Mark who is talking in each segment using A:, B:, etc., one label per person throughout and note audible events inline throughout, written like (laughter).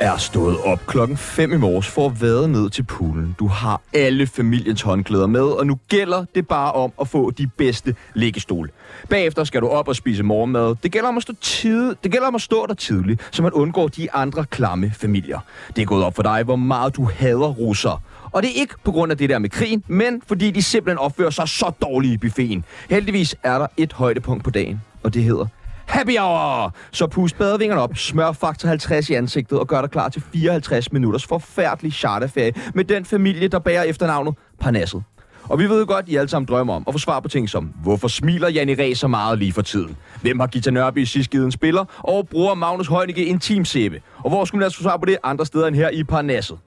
A: er stået op klokken 5 i morges for at vade ned til poolen. Du har alle familiens håndklæder med, og nu gælder det bare om at få de bedste liggestol. Bagefter skal du op og spise morgenmad. Det gælder om at stå, tid, det gælder om at stå der tidligt, så man undgår de andre klamme familier. Det er gået op for dig, hvor meget du hader russer. Og det er ikke på grund af det der med krigen, men fordi de simpelthen opfører sig så dårligt i buffeten. Heldigvis er der et højdepunkt på dagen, og det hedder Happy Hour! Så pust badevingerne op, smør faktor 50 i ansigtet og gør dig klar til 54 minutters forfærdelig charterferie med den familie, der bærer efternavnet Parnasset. Og vi ved jo godt, I alle sammen drømmer om at få svar på ting som, hvorfor smiler Janne Ræ så meget lige for tiden? Hvem har Gita Nørby i sidst givet en spiller? Og bruger Magnus Heunicke en teamsæbe? Og hvor skulle man altså få svar på det andre steder end her i Parnasset?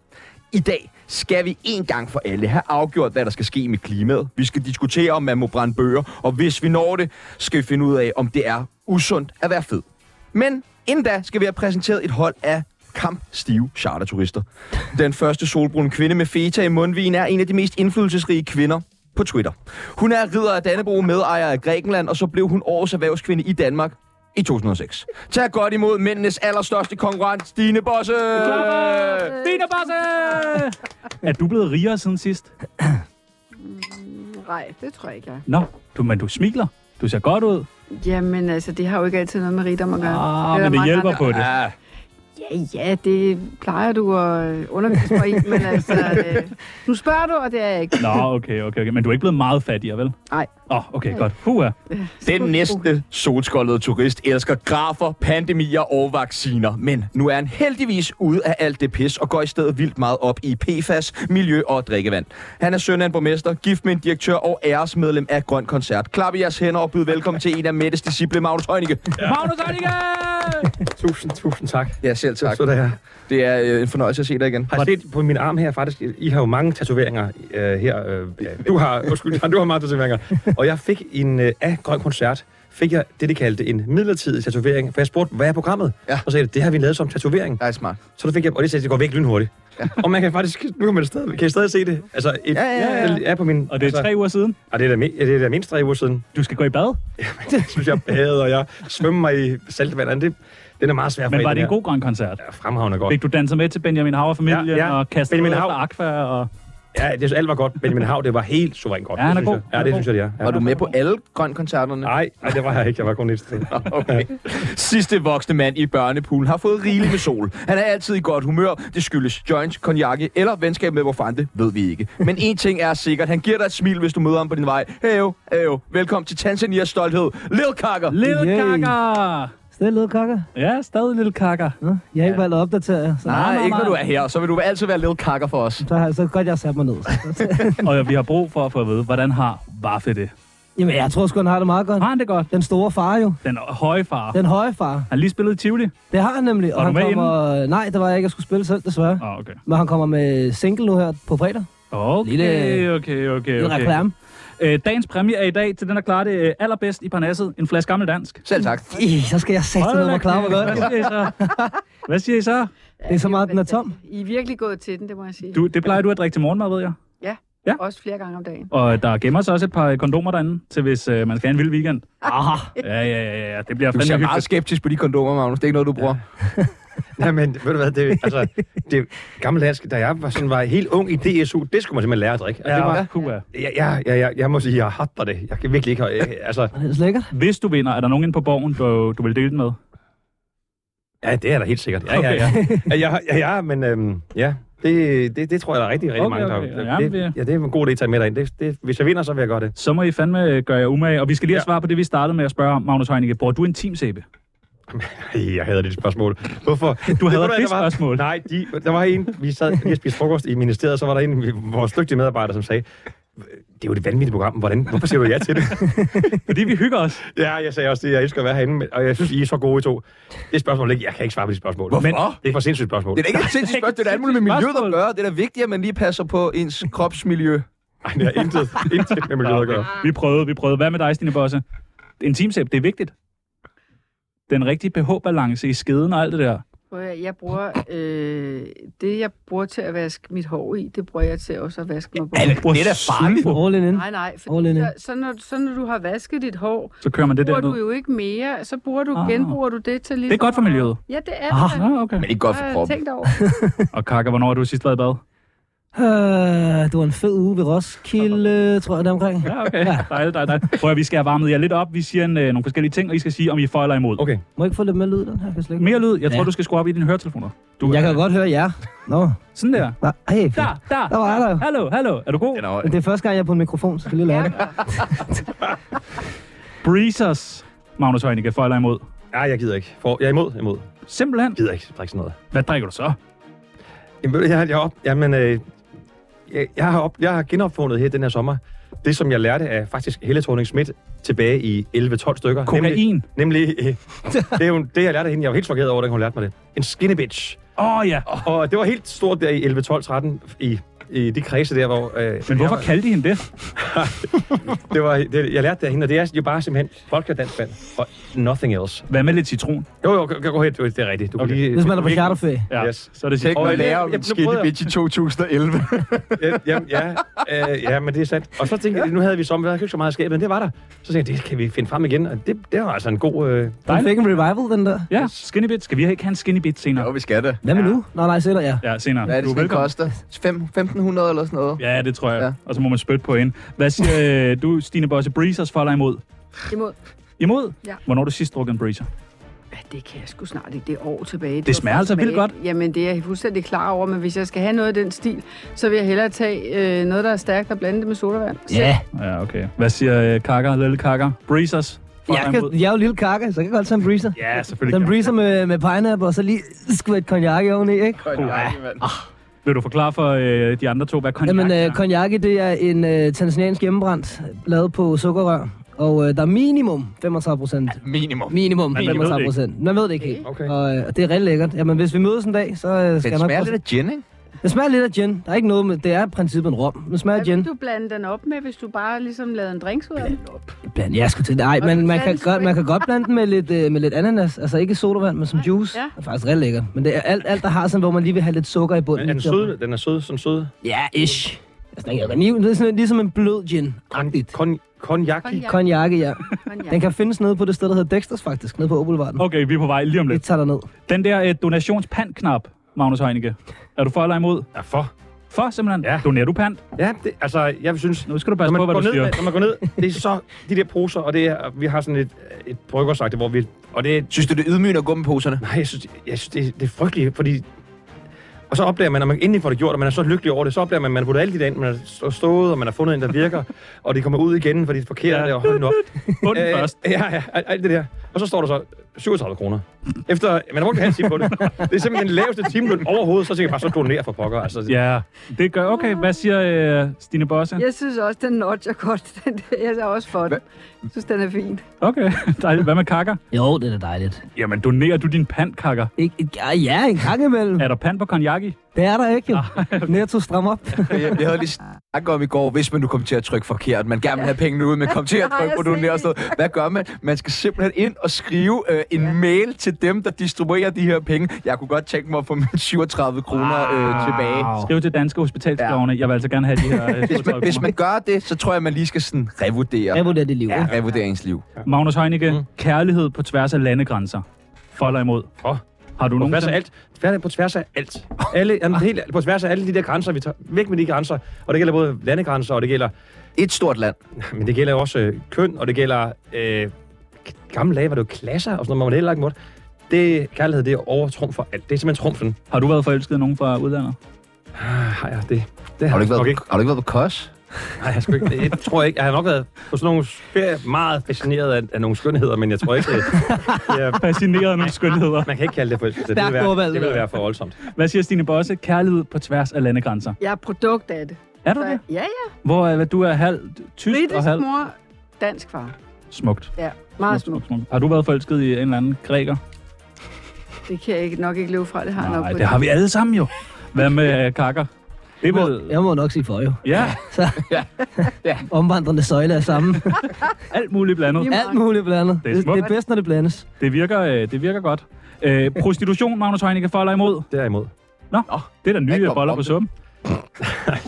A: I dag skal vi en gang for alle have afgjort, hvad der skal ske med klimaet. Vi skal diskutere, om man må brænde bøger, og hvis vi når det, skal vi finde ud af, om det er usundt at være fed. Men inden da skal vi have præsenteret et hold af kampstive charterturister. Den første solbrune kvinde med feta i mundvin er en af de mest indflydelsesrige kvinder på Twitter. Hun er ridder af Dannebro, medejer af Grækenland, og så blev hun årets erhvervskvinde i Danmark i 2006. Tag godt imod mændenes allerstørste konkurrent, Stine Bosse!
B: Dina Basse! Er du blevet rigere siden sidst?
C: Nej, det tror jeg ikke, jeg.
B: Nå, du, men du smiler. Du ser godt ud.
C: Jamen altså, det har jo ikke altid noget med rigdom at gøre.
B: Ah,
C: er der
B: men det
C: mange
B: hjælper
C: andre-
B: på det.
A: Ja,
C: Ja, ja, det plejer du at øh, undervise mig i, men
B: (laughs)
C: altså, øh, nu spørger du, og det er jeg ikke.
B: Nå, okay, okay, okay. Men du er ikke blevet meget fattigere, vel?
C: Nej.
B: Åh, oh, okay, godt. Hua.
A: Den næste solskoldede turist elsker grafer, pandemier og vacciner. Men nu er han heldigvis ude af alt det pis og går i stedet vildt meget op i PFAS, miljø og drikkevand. Han er søn af en borgmester, gift med en direktør og æresmedlem af Grøn Koncert. Klap i jeres hænder og byd velkommen til en af Mettes disciple, Magnus Heunicke.
B: Ja. Magnus Heunicke!
D: Tusind, tusind tak.
A: Ja, selv tak.
D: Så der er.
A: Det er øh, en fornøjelse at se dig igen.
D: Har jeg set på min arm her faktisk, I har jo mange tatoveringer øh, her. Øh, du har, undskyld, du har mange tatoveringer. Og jeg fik en øh, af Grøn Koncert, fik jeg det, de kaldte en midlertidig tatovering. For jeg spurgte, hvad er programmet?
A: Ja.
D: Og så sagde de, det har vi lavet som tatovering.
A: Det er smart.
D: Så der fik jeg, og det sagde, de, det går væk lynhurtigt. Ja. Og man kan faktisk, nu kan man stadig, kan I stadig se det. Altså, et,
A: Ja, ja, ja.
D: det er på min,
B: Og det er
D: altså,
B: tre uger siden.
D: Og det er, da, mi- ja, det er da mindst tre uger siden.
B: Du skal gå i bad.
D: det synes jeg bad, og jeg svømmer mig i saltvandet. Det, den er meget svær for
B: Men var det en
D: her.
B: god grøn koncert?
D: Ja, fremhavende godt.
B: Fik du danset med til Benjamin Hauer familien
D: Ja, ja.
B: og kastet
D: Benjamin
B: ud efter
D: Hav.
B: Aqua og...
D: Ja, det, alt var godt. Benjamin Hav, det var helt suverænt godt.
B: Ja,
D: Det
B: han er
D: synes
B: god.
D: Jeg. Ja,
B: Han er
D: det synes jeg, det er. Ja.
A: Var du med på alle grønkoncerterne?
D: Nej, nej, det var jeg ikke. Jeg var kun et (laughs) sted.
A: Okay. Sidste voksne mand i børnepoolen har fået rigeligt med sol. Han er altid i godt humør. Det skyldes joints, konjakke eller venskab med vor fante, ved vi ikke. Men en ting er sikkert. Han giver dig et smil, hvis du møder ham på din vej. Heyo, heyo. Velkommen til Tanzanias stolthed. Lil Kakker.
B: Lille
E: Yay.
B: kakker!
E: Stadig lidt kakker.
B: Ja, stadig lille kakker.
E: Nå, jeg har ikke valgt at opdatere jer, så,
A: Nej,
B: nej,
A: ikke når
B: nej.
A: du er her. Så vil du altid være Lil Kakker for os.
E: så, har, så er det godt, jeg har sat
B: (laughs)
E: mig ned.
B: (laughs) og vi har brug for at få at vide, hvordan har Vaffe det?
E: Jamen, jeg tror sgu, han har det meget godt.
B: Har han det godt?
E: Den store far jo.
B: Den høje far.
E: Den høje far.
B: Han lige spillet i Tivoli?
E: Det har han nemlig.
B: Var du
E: han
B: med
E: kommer... Nej, det var jeg ikke. Jeg skulle spille selv, desværre.
B: Åh, oh, okay.
E: Men han kommer med single nu her på fredag.
B: Okay,
E: Lille-
B: okay, okay,
E: Det er
B: okay.
E: reklame.
B: Øh, dagens præmie er i dag til den, der klarer det øh, allerbedst i Parnasset. En flaske gammel dansk.
A: Selv tak.
E: Ih, så skal jeg sætte
B: Hold
E: noget,
B: da
E: hvor klar mig godt.
B: kæft, Hvad siger I så? Hvad siger I så?
E: Det er så meget, den er tom.
C: I er virkelig gået til den, det må jeg sige.
B: Du, det plejer du at drikke til morgenmad, ved jeg.
C: Også flere gange om dagen.
B: Og der gemmer sig også et par øh, kondomer derinde, til hvis øh, man skal have en vild weekend.
E: Aha.
B: Ja, ja, ja, ja. Det bliver
A: Du ser
B: fandme
A: meget
B: hyggeligt.
A: skeptisk på de kondomer, Magnus. Det er ikke noget, du bruger.
D: Nej, men ved du hvad, det, altså, det gamle dansk, da jeg var, sådan, var helt ung i DSU, det skulle man simpelthen lære at drikke. Altså,
B: Ja,
D: det var,
B: puha.
D: ja, ja, ja, ja, jeg må sige, jeg hatter det. Jeg kan virkelig ikke... Jeg, altså,
E: Det er så lækkert.
B: Hvis du vinder, er der nogen inde på borgen, du, du vil dele den med?
D: ja, det er da helt sikkert. Ja, ja, ja. Ja, ja, ja, ja men øhm, ja, det, det, det, tror jeg, der er rigtig, rigtig
B: Okay,
D: mange, der...
B: okay.
D: der-
B: Jamen, vi-
D: det, ja, det er en god idé at tage med dig ind. Det, det, hvis jeg vinder, så vil jeg gøre det.
B: Så må I fandme øh, gøre jer umage. Og vi skal lige have
D: Ja.
B: svar på det, vi startede med at spørge om, Magnus Heunicke. Bruger du en teamsæbe?
D: Ej, jeg hader det spørgsmål. Hvorfor?
B: Du hader
D: Ved hvad,
B: det
D: der var-
B: spørgsmål?
D: Nej, de, der var en, vi sad lige og spiste frokost i ministeriet, så var der en af vores dygtige medarbejdere, som sagde, det er jo et vanvittigt program, hvordan, hvorfor siger du ja til det?
B: Fordi vi hygger os.
D: ja, jeg sagde også det, jeg elsker at være herinde, men- og jeg synes, I er så gode i to. Det spørgsmål, ikke- jeg kan ikke svare på de spørgsmål.
A: Hvorfor?
D: Men det er for sindssygt spørgsmål.
A: Det er da ikke et sindssygt spørgsmål. Det er da alt muligt med miljøet at gøre. Det er da vigtigt, at man lige passer på ens kropsmiljø.
D: Nej, det har intet, intet med miljøet at
B: (laughs)
D: gøre.
B: Vi prøvede, vi prøvede. Hvad med dig, Stine Bosse? En teamsæb, det er vigtigt. Den rigtige pH-balance i skeden og alt det der.
C: Prøv at høre, Jeg bruger, øh, det jeg bruger til at vaske mit hår i, det bruger jeg til også at vaske mig på.
A: Alex,
B: bruger
A: det er da farligt.
B: sølv.
E: All in in.
C: Nej, nej, for
E: All in in.
C: så, så, når, så når du har vasket dit hår,
B: Så kører man det
C: bruger
B: der
C: du
B: ned.
C: jo ikke mere, så bruger du,
B: Ah.
C: genbruger du det til lige.
B: Det er godt for miljøet.
C: Ja, det er
E: Ah,
C: det.
B: Ah, okay.
A: Men ikke godt for
C: Jeg har
A: kroppen.
C: tænkt over.
B: Og Kaka, hvornår har du sidst været i bad?
E: Øh, det var en fed uge ved Roskilde, tror jeg, der omkring.
B: Ja, okay. Dejligt, dejligt, dejligt. Prøv at vi skal have varmet jer lidt op. Vi siger en, øh, nogle forskellige ting, og I skal sige, om I er for eller imod.
D: Okay.
E: Må jeg ikke få lidt mere lyd, den her? Jeg kan slet ikke-
B: Mere lyd. Jeg tror,
E: Ja.
B: du skal skrue op i dine høretelefoner.
E: Du, jeg kan godt høre jer. Nå,
B: Sådan der.
E: nej, hey, fedt.
B: Der, der.
E: Der var jeg der.
B: Hallo, hallo. Er du god?
A: Den er høj.
E: Men det er første gang, jeg er på en mikrofon, så jeg skal lige lære det.
B: Breezers. Magnus Heunicke, for eller imod.
D: Nej, jeg gider ikke. For, jeg er imod, imod.
B: Simpelthen.
D: Gider ikke drikke sådan noget.
B: Hvad drikker du så?
D: Jamen, ved du, jeg, jeg, op, jamen, øh, jeg, jeg, har op, jeg har genopfundet her den her sommer. Det, som jeg lærte af faktisk Helle thorning Schmidt tilbage i 11-12 stykker. Nemlig,
B: Kokain.
D: nemlig øh, det, er jo, det, jeg lærte af hende. Jeg var helt chokeret over, da hun lærte mig det. En skinny bitch.
B: Åh oh, ja.
D: Og det var helt stort der i 11, 12, 13 i, i de kredse der, hvor... Øh,
B: Men hvorfor kaldte I hende det?
D: Jeg, det var, det, jeg lærte det af hende, og det er jo bare simpelthen vodka dansk vand og nothing else.
B: Hvad med lidt citron?
D: Jo, jo, gå, gå hen. Det er rigtigt. Du okay.
B: Okay.
D: kan lige,
E: Hvis man er på
D: virkelig-
E: charterferie.
B: Ja,
D: Yes.
B: så er det
A: Tænk,
B: citron.
D: Og
A: man
D: jeg-
A: lærer om
D: jeg-
A: en
D: nu prøvede
A: skinny bitch i 2011. (laughs)
D: Ja, jamen, ja, øh, ja, men det er sandt. Og så tænkte jeg, nu havde vi sommer, der var ikke så meget af skabet, men det var der. Så tænkte jeg, det kan vi finde frem igen, og det, det var altså en god... Øh,
E: Den fik en revival, den der.
B: Ja, skinny bit. Skal vi ikke have en skinny bit senere?
A: Jo, vi skal det.
E: Hvad med nu? Nå, nej, sætter jeg.
B: Ja, senere.
A: Hvad er det,
B: du er
A: sådan, det
B: velkommen.
A: koster? Fem- 1500 eller sådan noget?
B: Ja, det tror jeg.
A: Ja.
B: Ja. Og så må man spytte på hende. Hvad siger øh, du, Stine Bosse? Breezers for eller imod?
C: Imod.
B: Imod?
C: Ja.
B: Hvornår har du sidst drukket en breezer?
C: Ja, det kan jeg sgu snart ikke. Det er år tilbage.
B: Det
C: Det, var
B: smager
C: først
B: altså vildt
C: smag-
B: godt.
C: Jamen, det er jeg fuldstændig klar over. Men hvis jeg skal have noget af den stil, så vil jeg hellere tage øh, noget, der er stærkt og blande det med sodavand.
E: Ja,
B: Ja, okay. Hvad siger øh, Kaka, lille Kaka? Breezers for
E: jeg,
B: eller
E: kan,
B: imod?
E: jeg er jo lille kakke, så jeg kan godt tage en breezer.
B: Ja, selvfølgelig.
E: Den
B: Kan.
E: breezer med, med pineapple, og så lige skvæt cognac i oveni, ikke?
A: Ah,
B: Vil du forklare for øh, de andre to, hvad konjak
E: Jamen, øh,
B: er?
E: konjaki, det er en øh, tanzaniansk hjemmebrændt, lavet på sukkerrør. Og øh, der er minimum 35 procent.
A: Minimum.
E: Minimum
B: Men man ved det
E: 35
B: ikke.
E: procent. Man ved det ikke helt.
D: Okay.
E: Og, øh, og det er rigtig lækkert. Jamen, hvis vi mødes en dag, så øh, skal
A: Den
E: jeg nok...
A: smager
E: prøve-
A: lidt af gin, ikke?
E: Den smager lidt af gin. Der er ikke noget med... Det er i princippet en rom. Den smager af
C: Hvad vil
E: gin.
C: du blande den op med, hvis du bare ligesom lavede en drinks ud af den?
E: Bland, jeg skulle til Nej,
C: Og
E: men
C: den
E: man kan,
C: blandes
E: godt,
C: med-
E: man kan godt blande den med lidt, øh, med lidt ananas. Altså ikke sodavand, men som juice.
C: ja.
E: Det er faktisk rigtig lækkert. Men det er alt, alt, der har sådan, hvor man lige vil have lidt sukker i
D: er
E: bunden. ligesom-
D: den sød? Den er sød, sådan sød.
E: Ja, ish. Altså, den kan, det er sådan, ligesom en blød gin. Agtigt.
D: Kon, konjaki.
C: Konjak.
E: Konjakke, ja.
C: Konjak.
E: Den kan findes nede på det sted, der hedder Dexters faktisk, nede på Opelvarden.
B: Okay, vi er på vej lige om
E: Vi
B: lidt.
E: tager derned.
B: Den der øh, donationspandknap, Magnus Heunicke. Er du for eller imod?
D: Ja, for.
B: For simpelthen.
D: Ja.
B: Donerer du pant?
D: Ja, det, altså, jeg synes...
B: Nu skal du
D: Når
B: passe
D: man,
B: på, hvad
D: går
B: du
D: ned,
B: siger.
D: når man går ned, det er så de der poser, og det er, vi har sådan et, et bryggersagte, hvor vi... Og det er
A: Synes du, det er ydmygende at gå med poserne?
D: Nej, jeg synes, jeg synes det, det er frygteligt, fordi... Og så opdager man, når man endelig får det gjort, og man er så lykkelig over det, så opdager man, at man har puttet alt det der ind, man har stå- stået, og man har fundet en, der
B: (laughs)
D: virker, og det kommer ud igen, fordi det er forkert,
B: Ja.
D: ja. og hold nu op.
B: På den
D: Øh,
B: først.
D: Ja, ja, al- alt det der. Og så står der så 37 kroner. Efter, man har brugt en halv time på det. Det er simpelthen den laveste timeløn overhovedet, så tænker jeg bare, så donerer for pokker. Altså,
B: Ja, det gør... Okay, hvad siger øh, Stine Bosse?
C: Jeg synes også, den notcher godt. (laughs) Den der. Jeg er også for den. Jeg synes, den er fin.
B: Okay, (laughs) dejligt. Hvad med kakker?
E: Jo, det er da dejligt.
B: Jamen, donerer du din pant, kakker?
E: Ikke, ikke- ah, ja, en gang imellem.
B: Er der pant på konjaki?
E: Det er der ikke, jo. Netto stram op.
A: Jeg, jeg havde lige snakket om i går, hvis man nu kom til at trykke forkert, man gerne vil have pengene ud, men kom til at
C: Har
A: trykke
C: jeg
A: på den
C: set.
A: der sted. Hvad gør man? Man skal simpelthen ind og skrive øh, en mail til dem, der distribuerer de her penge. Jeg kunne godt tænke mig at få mine 37 kroner øh, tilbage.
B: Skriv til danske hospitalsklovne. Jeg vil altså gerne have de her... øh,
A: Hvis man,
B: 37
A: hvis
B: kroner.
A: man gør det, så tror jeg, man lige skal sådan revurdere.
E: Jeg vurderer det liv,
A: Ja,
E: ikke?
A: revurdere ens liv.
B: Magnus Heunicke, mm. kærlighed på tværs af landegrænser. For eller imod?
D: Åh.
B: Har du
D: På
B: nogen
D: tværs af alt. Tvær- På tværs af alt. Alle, jamen, helt, på tværs af alle de der grænser, vi tager væk med de grænser. Og det gælder både landegrænser, og det gælder
A: Et stort land.
D: Men det gælder jo også øh, køn, og det gælder... Øh, gamle dage var det jo klasser og sådan noget, man var heller ikke måtte. Det, kærlighed, det overtrum for alt. Det er simpelthen trumfen.
B: Har du været forelsket i nogen fra udlandet?
D: Ah, har jeg det? det
A: Har du ikke
D: jeg
A: været,
D: nok
A: har du ikke været på kos?
D: ikke. Nej, jeg, sgu ikke. jeg tror ikke. Jeg har nok været på sådan nogle ferie meget fascineret af, af nogle skønheder, men jeg tror ikke, det, jeg,
B: Fascineret af nogle skønheder.
D: man kan ikke kalde det for... Det, det,
E: Stærkt
D: vil være,
E: ordvalg.
D: det vil være for voldsomt.
B: Hvad siger Stine Bosse? Kærlighed på tværs af landegrænser.
C: Jeg er produkt af det.
B: Er du
C: Så-
B: det?
C: Ja, ja.
B: Hvor øh, hvad du er halv tysk og
C: Britisk
B: halv...
C: mor, dansk far.
B: Smukt.
C: Ja, meget smukt.
B: smukt. Har du været forelsket i en eller anden græker?
C: Det kan jeg ikke, nok ikke leve fra. Det har jeg nok
B: Nej,
C: på
B: det har vi alle sammen jo. Hvad med øh, kakker? Det er
E: må,
B: vel...
E: jeg må nok sige for jo.
B: Ja,
E: Så
A: Ja. Ja.
E: omvandrende søjle er samme.
B: alt muligt blandet.
C: Jamen.
E: Alt muligt blandet.
B: Det er
E: Det, det,
B: smukt.
E: er bedst, når det blandes.
B: Det virker, øh, det virker godt. Øh, prostitution, Magnus Heunicke, for eller imod?
D: Derimod.
B: Det er da nye
A: Jeg
B: jeg
A: kom
B: boller
A: om
B: på
A: det.
B: sum.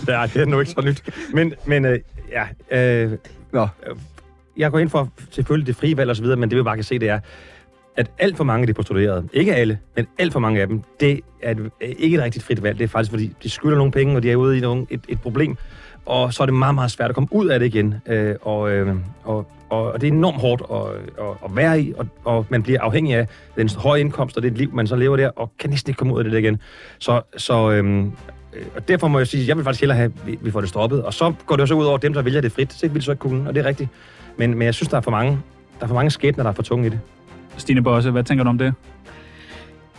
D: Nej, det er nu ikke så nyt. Men, men øh, ja, øh,
A: Nå.
D: jeg går ind for selvfølgelig det frie valg og så videre, men det vi bare kan se, det er, at alt for mange af de prostituerede, ikke alle, men alt for mange af dem, det er et, øh, ikke et rigtigt frit valg. Det er faktisk, fordi de skylder nogle penge, og de er ude i nogle, et, et problem. Og så er det meget, meget svært at komme ud af det igen. Øh, og, øh, og, og, og det er enormt hårdt at, at, at være i, og, og man bliver afhængig af den høje indkomst og det liv, man så lever der, og kan næsten ikke komme ud af det der igen. Så, så øhm, øh, og derfor må jeg sige, at jeg vil faktisk hellere have, at vi- vi får det stoppet. Og så går det jo så ud over dem, der vælger det frit. Så vil de så ikke kunne, og det er rigtigt. Men, men jeg synes, der er for mange, der er for mange skæbner, der er for tunge i det.
B: Stine Bosse, hvad tænker du om det?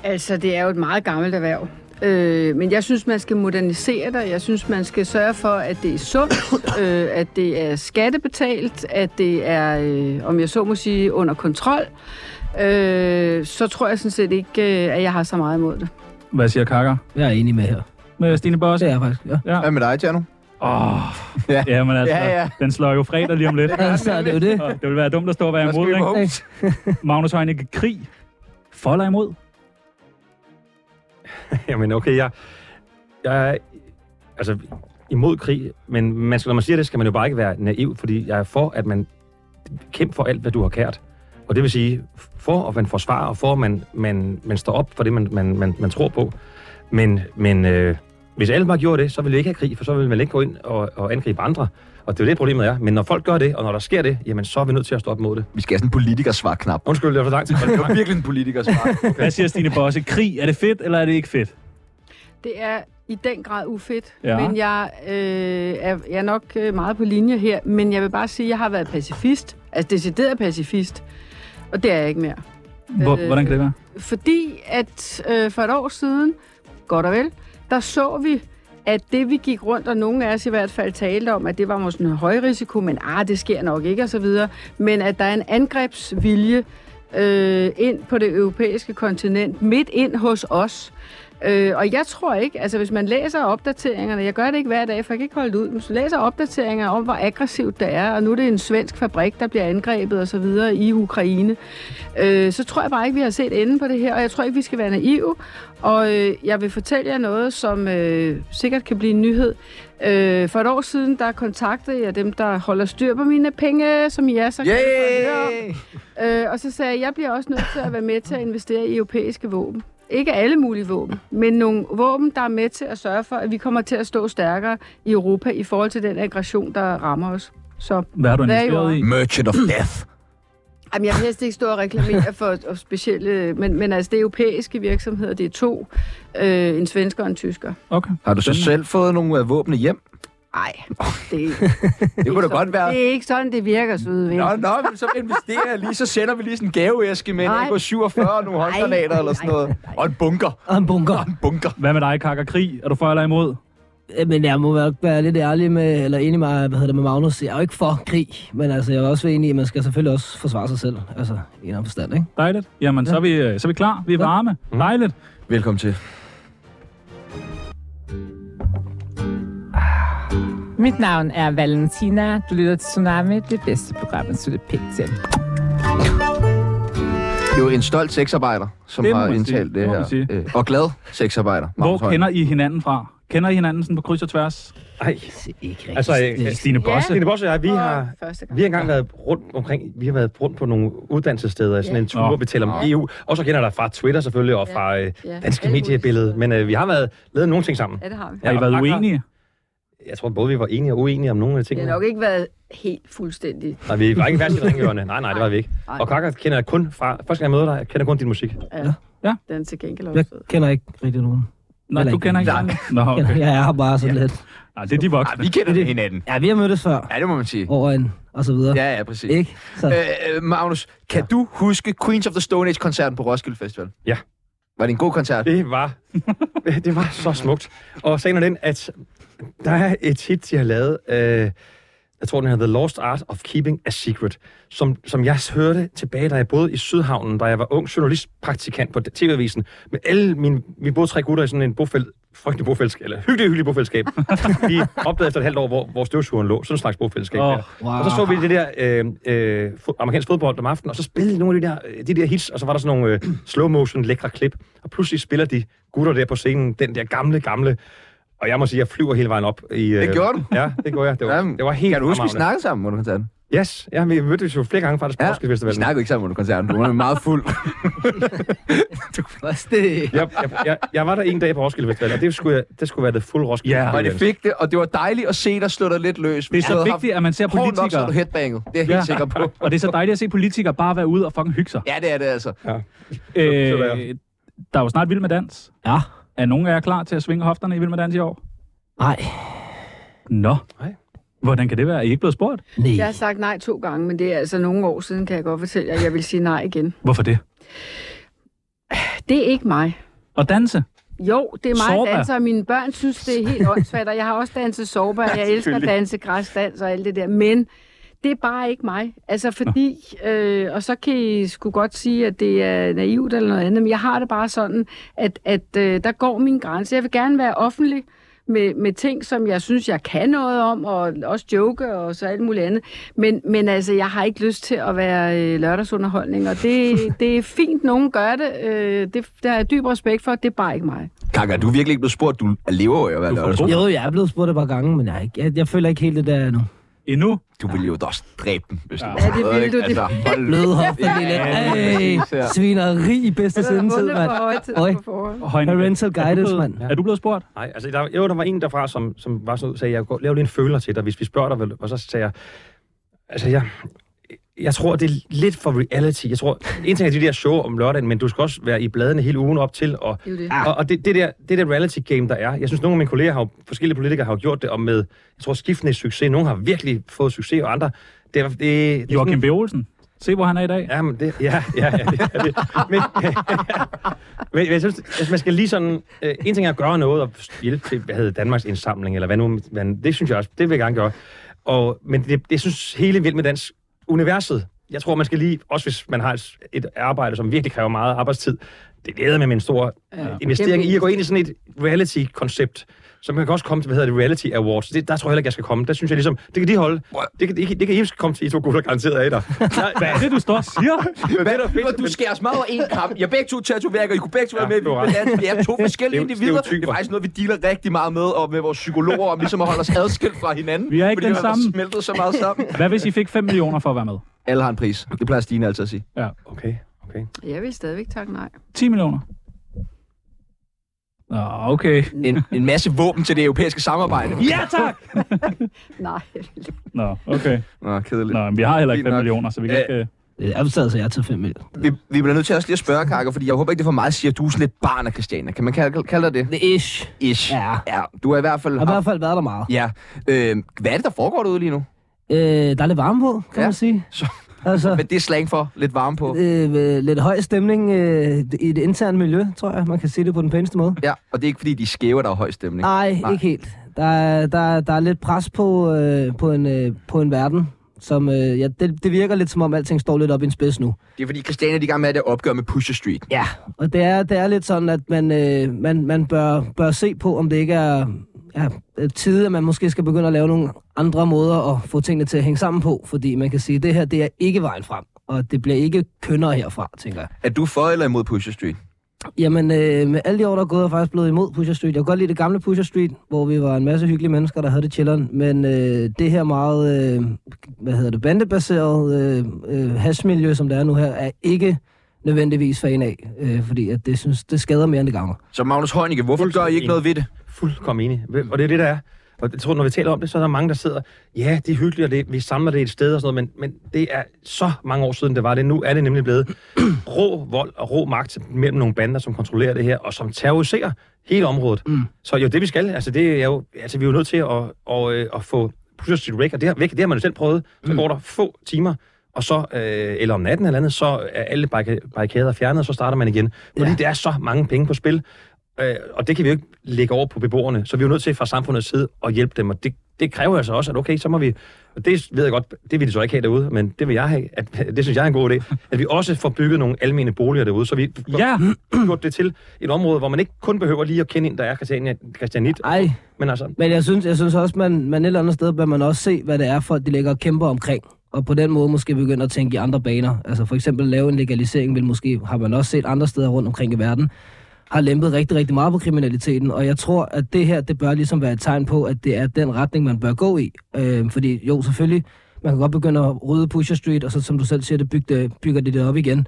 C: Altså, det er jo et meget gammelt erhverv. Øh, men jeg synes, man skal modernisere det. Jeg synes, man skal sørge for, at det er sundt, (coughs) øh, at det er skattebetalt, at det er, øh, om jeg så må sige, under kontrol. Øh, så tror jeg sådan set ikke, øh, at jeg har så meget imod det.
B: Hvad siger Kakker?
E: Jeg er enig med her.
B: Med Stine Bosse?
E: Det er jeg faktisk. Ja.
B: Ja.
A: Hvad med dig, Tjerno?
B: Åh,
A: Ja.
B: ja, men altså,
A: Ja,
B: ja,
A: ja.
B: ja. den slår jo fredag lige om lidt.
E: Altså, det er jo det.
B: Og det vil være dumt at stå og være
A: Hvad
B: imod,
A: skal vi på?
B: ikke?
A: Hope.
B: Magnus Heunicke, krig. For eller imod?
D: Jamen okay, jeg, jeg er altså, imod krig, men man skal, når man siger det, skal man jo bare ikke være naiv, fordi jeg er for, at man kæmper for alt, hvad du har kært. Og det vil sige, for at man forsvarer, og for at man, man, man står op for det, man, man, man, man tror på. Men, men øh, hvis alle bare gjorde det, så ville vi ikke have krig, for så ville man ikke gå ind og, og angribe andre. Og det er jo det, problemet er. Men når folk gør det, og når der sker det, jamen så er vi nødt til at stå op mod det.
A: Vi skal have sådan en politikersvar-knap.
D: Undskyld, det var for langt. Det var
A: Virkelig en politikersvar.
B: Hvad siger Stine Bosse? Krig, er det fedt, eller er det ikke fedt?
C: Det er i den grad ufedt,
B: Ja.
C: ja. men jeg, øh, er, jeg er nok øh, meget på linje her. Men jeg vil bare sige, at jeg har været pacifist, altså decideret pacifist, og det er jeg ikke mere.
B: Hvor,
C: Øh,
B: hvordan kan det være?
C: Fordi at øh, for et år siden, godt og vel, der så vi, at det vi gik rundt, og nogle af os i hvert fald talte om, at det var måske en høj risiko, men ah, det sker nok ikke osv., men at der er en angrebsvilje øh, ind på det europæiske kontinent, midt ind hos os. Øh, og jeg tror ikke, altså hvis man læser opdateringerne, jeg gør det ikke hver dag, for jeg kan ikke holde det ud, men hvis man læser opdateringer om, hvor aggressivt det er, og nu er det en svensk fabrik, der bliver angrebet osv. i Ukraine, øh, så tror jeg bare ikke, vi har set enden på det her, og jeg tror ikke, vi skal være naive. Og øh, jeg vil fortælle jer noget, som øh, sikkert kan blive en nyhed. Øh, for et år siden, der kontaktede jeg dem, der holder styr på mine penge, som I er så glade for at høre om.
A: (laughs) Yay!
C: Øh, og så sagde jeg, jeg bliver også nødt til at være med til at investere i europæiske våben. Ikke alle mulige våben, men nogle våben, der er med til at sørge for, at vi kommer til at stå stærkere i Europa i forhold til den aggression, der rammer os. Så
B: Hvad har du
C: hvad er I over?
B: investeret i?
A: Merchant of Death.
C: Jamen, jeg vil helst ikke stå og reklamere for og specielle, men, men altså det er europæiske virksomheder, det er to, øh, en svensker og en tysker.
B: Okay.
A: Har du så
B: Spændende.
A: selv fået nogle af våbne hjem?
C: Nej, det,
A: Det kunne
B: (laughs)
A: da
C: sådan,
A: godt være.
C: det er ikke sådan, det virker, søde ven.
A: Nå, nå, men så investerer jeg lige, så sender vi lige sådan en gaveæske med en
C: Nej.
A: AK-47 og nogle håndgranater
C: Nej,
A: eller sådan
C: nej,
A: noget.
C: nej.
A: Og en bunker.
E: Og en bunker.
A: Og en bunker.
B: Hvad med dig, Kakker? Krig, er du for eller imod?
E: Øh, Men jeg må være, være lidt ærlig med, eller enig med, hvad hedder det, med Magnus. Jeg er jo ikke for krig, men altså, jeg er også enig i, at man skal selvfølgelig også forsvare sig selv. Altså, i en eller anden forstand, ikke?
B: Dejligt. Jamen, så er vi, øh, så er vi klar. Vi er varme. Dejligt.
A: Velkommen til.
F: Mit navn er Valentina. Du lytter til Tsunami, det bedste program, man slutter pænt til.
A: Det er jo en stolt sexarbejder, som
B: Det må
A: har
B: man sige.
A: indtalt det
B: Det må
A: her.
B: man sige.
A: Øh, Og glad sexarbejder.
B: Hvor
A: Magnus Høinicke.
B: kender I hinanden fra? Kender I hinanden sådan på kryds og tværs?
D: Ej,
E: Det er ikke rigtigt.
D: altså, øh,
B: Stine Bosse.
D: Stine Bosse og jeg, vi har,
C: Og Første gang.
D: Vi har engang været rundt omkring, vi har været rundt på nogle uddannelsessteder, sådan
C: Ja.
D: en tur,
B: Nå.
D: hvor vi taler om EU, og så kender der fra Twitter selvfølgelig, og
C: Ja.
D: fra øh,
C: Ja.
D: danske
C: Alle mulige
D: mediebillede,
C: steder.
D: men øh, vi har været lavet nogle ting sammen.
C: Ja, det har vi.
B: Har I
D: og
B: været
D: Akker-
B: uenige?
D: Jeg tror både, vi var enige og uenige om nogle af
C: Det har
D: tingene.
C: nok ikke været helt fuldstændig.
D: Nej,
C: (laughs)
D: vi var ikke værst i ringhjørne. Nej, nej, det var vi ikke.
C: Nej.
D: Og Kaka kender jeg kun fra, første gang jeg møder dig, jeg kender kun din musik.
C: Ja.
B: Ja.
C: Den er til gengæld også.
E: Jeg
C: fed.
E: kender ikke rigtig nogen.
B: Nej,
E: Heller
B: du
E: ikke.
B: kender ikke hinanden. Nå, okay.
E: Jeg er her bare sådan lidt.
B: Nej, det er de
A: Ej,
B: voksne.
A: Ah, vi kender det hinanden.
E: Ja, vi har mødtes før.
A: Ja, det må man sige.
E: Over en, og så videre.
A: Ja, ja, præcis.
E: Ikke? Så,
A: Øh, øh, Magnus, kan ja. du huske Queens of the Stone Age-koncerten på Roskilde Festival?
D: Ja.
A: Var det en god koncert?
D: Det var, det var så smukt. Og sagen er den, at der er et hit, de har lavet, øh, jeg tror, den hedder The Lost Art of Keeping a Secret, som, som jeg hørte tilbage, da jeg boede i Sydhavnen, da jeg var ung journalistpraktikant på TV-avisen, med alle mine, vi boede tre gutter i sådan en bofæld frygtelig bofællesskab, eller hyggelig, hyggelig bofællesskab. vi opdagede efter et halvt år, hvor, hvor støvsugeren lå. Sådan en slags bofællesskab.
B: Åh,
D: Oh, wow. Og så så vi det der øh, øh, fo- amerikansk fodbold om aftenen, og så spillede de nogle af de der, øh, de der hits, og så var der sådan nogle øh, slow motion lækre klip. Og pludselig spiller de gutter der på scenen, den der gamle, gamle... Og jeg må sige, jeg flyver hele vejen op i... Øh,
A: Det gjorde du?
D: Ja, det gjorde jeg. Det var,
A: Jamen,
D: det var helt
A: Kan du huske, vi
D: fremragende.
A: snakkede sammen under koncerten?
D: Yes, ja, vi mødtes jo flere gange faktisk på ja, Roskilde
A: vi
D: Festival.
A: snakkede ikke sammen under koncerten. Du var meget fuld.
E: Også det.
D: Jeg, jeg, jeg, jeg, var der en dag på Roskilde Festival, og det skulle, jeg, det skulle være det fuld Roskilde
B: Ja.
A: Og
D: Festival.
A: det fik det, og det var dejligt at se dig slå dig lidt løs.
B: Det er så vigtigt, at man ser
A: Hårdt nok, så er
B: politikere.
A: du headbanget. Det er jeg helt sikker på.
B: Og det er så dejligt at se politikere bare være ude og fucking hygge sig.
A: Ja, det er det altså.
D: så er
B: Øh, der er jo snart Vild med Dans.
E: Ja.
B: Er nogen af jer klar til at svinge hofterne i Vild med Dans i år?
E: Nej.
B: Nå.
D: Nej.
B: Hvordan kan det være? Er I ikke blevet spurgt?
E: Nej.
C: Jeg har sagt nej to gange, men det er altså nogle år siden, kan jeg godt fortælle jer, at jeg vil sige nej igen.
B: Hvorfor det?
C: Det er ikke mig.
B: Og danse?
C: Jo, det er mig,
B: Zorba.
C: der danser, og mine børn synes, det er helt åndssvagt, og jeg har også danset sorba, og jeg elsker at danse græsdans og alt det der, men det er bare ikke mig. Altså fordi, øh, og så kan I sgu godt sige, at det er naivt eller noget andet, men jeg har det bare sådan, at, at øh, der går min grænse. Jeg vil gerne være offentlig med, med ting, som jeg synes, jeg kan noget om, og også joke og så alt muligt andet. Men, men altså, jeg har ikke lyst til at være øh, lørdagsunderholdning, og det, det er fint, nogen gør det. Øh, det. Det har jeg dyb respekt for, det er bare ikke mig.
A: Kaka, du er virkelig ikke blevet spurgt. Du lever jo af at være
B: Du får
A: lørdags.
B: god-
E: Jo, jeg er blevet spurgt et par gange, men jeg, er ikke- jeg, jeg føler ikke helt det der endnu.
B: Endnu?
A: Du ville jo da også dræbe dem, hvis du
B: Ja.
A: var
C: Ja, det
A: noget,
C: ville
A: ikke? Altså,
C: du, det-
A: hold
E: Bløde hofter, lille.
B: ja,
E: Ej,
A: præcis, ja.
E: svineri i bedste sendetid,
C: Under
E: mand.
C: for høje tid
E: Øj.
C: på forhånd.
B: Højne,
E: Parental guidance, mand.
B: Er du blevet spurgt?
D: Nej, altså der, jo, der var en derfra, som, som var sådan ud, sagde, jeg går- laver lige en føler til dig, hvis vi spørger dig, vel?" og så sagde jeg, altså jeg, jeg tror, det er lidt for reality. Jeg tror, en ting er de der show om lørdagen, men du skal også være i bladene hele ugen op til, og,
C: Det er jo det.
D: og, og det, det, der, det der reality game, der er, jeg synes, nogle af mine kolleger har jo, forskellige politikere har jo gjort det, og med, jeg tror, skiftende succes. Nogle har virkelig fået succes, og andre, det, er- det, det er
B: Joachim B. Olsen. Se, hvor han er i dag.
D: Ja, men det, ja, ja, ja, det, ja det. Men, men jeg synes, altså, man skal lige sådan... Øh, en ting er at gøre noget og hjælpe til, hvad hedder Danmarks indsamling, eller hvad nu... Hvad, det synes jeg også, det vil jeg gerne gøre. Og, men det, det synes hele Vild med Dans universet, jeg tror, man skal lige, også hvis man har et, et arbejde, som virkelig kræver meget arbejdstid, det leder med en stor ja, investering i at gå ind i sådan et reality-koncept, som man kan også komme til, hvad hedder det, Reality Awards. Det, der tror jeg heller ikke, jeg skal komme. Der synes jeg ligesom, det kan de holde. Det kan, det kan, det kan I komme til, I to gutter garanteret af dig.
B: Hvad er det, du står og siger?
A: (laughs)
D: Men det, der er fedt,
A: Hvad, du
D: men-
A: skærer os meget over en kamp. Jeg er begge to tatoveringer, I kunne begge to være
D: Ja,
A: med.
D: du har ret.
A: Vi, vi er to forskellige
D: Det er jo
A: individer. Det
D: stereotyper.
A: er faktisk noget, vi dealer rigtig meget med, og med vores psykologer, om ligesom at holde os adskilt fra hinanden.
B: Vi er ikke
A: fordi
B: den
A: vi har
B: samme.
A: smeltet så meget sammen.
B: Hvad hvis I fik 5 millioner for at være med?
A: Alle har en pris. Det plejer Stine altid at sige.
B: Ja.
D: Okay, okay.
C: Jeg vil stadigvæk takke nej.
B: 10 millioner? Nå, okay.
A: En, en masse våben til det europæiske samarbejde.
B: Ja, tak!
C: Nej.
B: Nå, okay.
A: Nå, kedeligt.
B: Nå, men vi har heller ikke
A: Fint
B: 5
A: nok.
B: millioner, så vi kan
A: Ja.
B: ikke... øh.
E: Det er optaget, så Øh, jeg tager 5 mil.
A: Vi, vi bliver nødt til også lige at spørge, Kaka, fordi jeg håber ikke, det er for meget at sige, at du er sådan lidt barn af Christiania. Kan man kalde, kalde dig det?
E: Det er ish.
A: Ish.
E: Ja.
A: ja. Du har i hvert fald...
E: Jeg har i hvert fald været der meget.
A: Ja. Øh, hvad er det, der foregår derude lige nu?
E: Øh, der er lidt varme på, kan
A: Ja.
E: man sige.
A: Så-
E: Altså,
A: Men det er slang for lidt varme på.
E: øh, øh, lidt høj stemning øh, i det interne miljø, tror jeg. Man kan sige det på den pæneste måde.
A: Ja, og det er ikke fordi, de er skæve, der er høj stemning.
E: Nej,
A: Nej.
E: Nej. ikke helt. Der, er- der, er- der er lidt pres på, øh, på, en, øh, på en verden, som... Øh, ja, det, det virker lidt som om, alting står lidt op i en spids nu.
A: Det er fordi, Christiania de er i gang med at opgøre med Pusher Street.
E: Ja, og det er, det er lidt sådan, at man, øh, man, man bør, bør se på, om det ikke er, er er tid, at man måske skal begynde at lave nogle andre måder at få tingene til at hænge sammen på, fordi man kan sige, at det her det er ikke vejen frem, og det bliver ikke kønnere herfra, tænker jeg.
A: Er du for eller imod Pusher Street?
E: Jamen, øh, med alle de år, der er gået, er jeg faktisk blevet imod Pusher Street. Jeg kan godt lide det gamle Pusher Street, hvor vi var en masse hyggelige mennesker, der havde det chilleren. Men øh, det her meget, øh, hvad hedder det, bandebaserede øh, øh, hashmiljø, som der er nu her, er ikke nødvendigvis fan af. Øh, fordi at det, synes, det skader mere, end det gavner.
A: Så Magnus Heunicke, hvorfor gør I ikke noget ved det?
D: Fuldkommen enig. Og det er det, der er. Og jeg tror, når vi taler om det, så er der mange, der sidder, ja, det er hyggeligt, og det, vi samler det et sted og sådan noget, men, men det er så mange år siden, det var det. Nu er det nemlig blevet (clears throat) rå vold og rå magt mellem nogle bander, som kontrollerer det her, og som terroriserer hele området. Mm. Så jo, det vi skal, altså det er jo, altså vi er jo nødt til at, og, øh, at få Pusher Street væk, og det, her, væk, det har man jo selv prøvet. Så går der få timer, og så, øh, eller om natten eller andet, så er alle barrika- barrikader fjernet, og så starter man igen. Fordi ja. der er så mange penge på spil, Øh, og det kan vi jo ikke lægge over på beboerne, så vi er jo nødt til fra samfundets side at hjælpe dem, og det, det kræver altså også, at okay, så må vi... Og det ved jeg godt, det vil de så ikke have derude, men det vil jeg have. At, (laughs) det synes jeg er en god idé. At vi også får bygget nogle almene boliger derude, så vi får
B: Ja,
D: (clears throat) gjort det til et område, hvor man ikke kun behøver lige at kende en, der er Christiania, Christianit,
E: Ej,
D: men altså...
E: men jeg synes, jeg synes også, man, man et eller andet sted bør man også se, hvad det er, folk de ligger og kæmper omkring. Og på den måde måske begynde at tænke i andre baner. Altså for eksempel lave en legalisering, vil måske, har man også set andre steder rundt omkring i verden, har lempet rigtig, rigtig meget på kriminaliteten. Og jeg tror, at det her, det bør ligesom være et tegn på, at det er den retning, man bør gå i. Øh, fordi jo, selvfølgelig, man kan godt begynde at rydde Pusher Street, og så som du selv siger, det bygger det, bygger det, det op igen.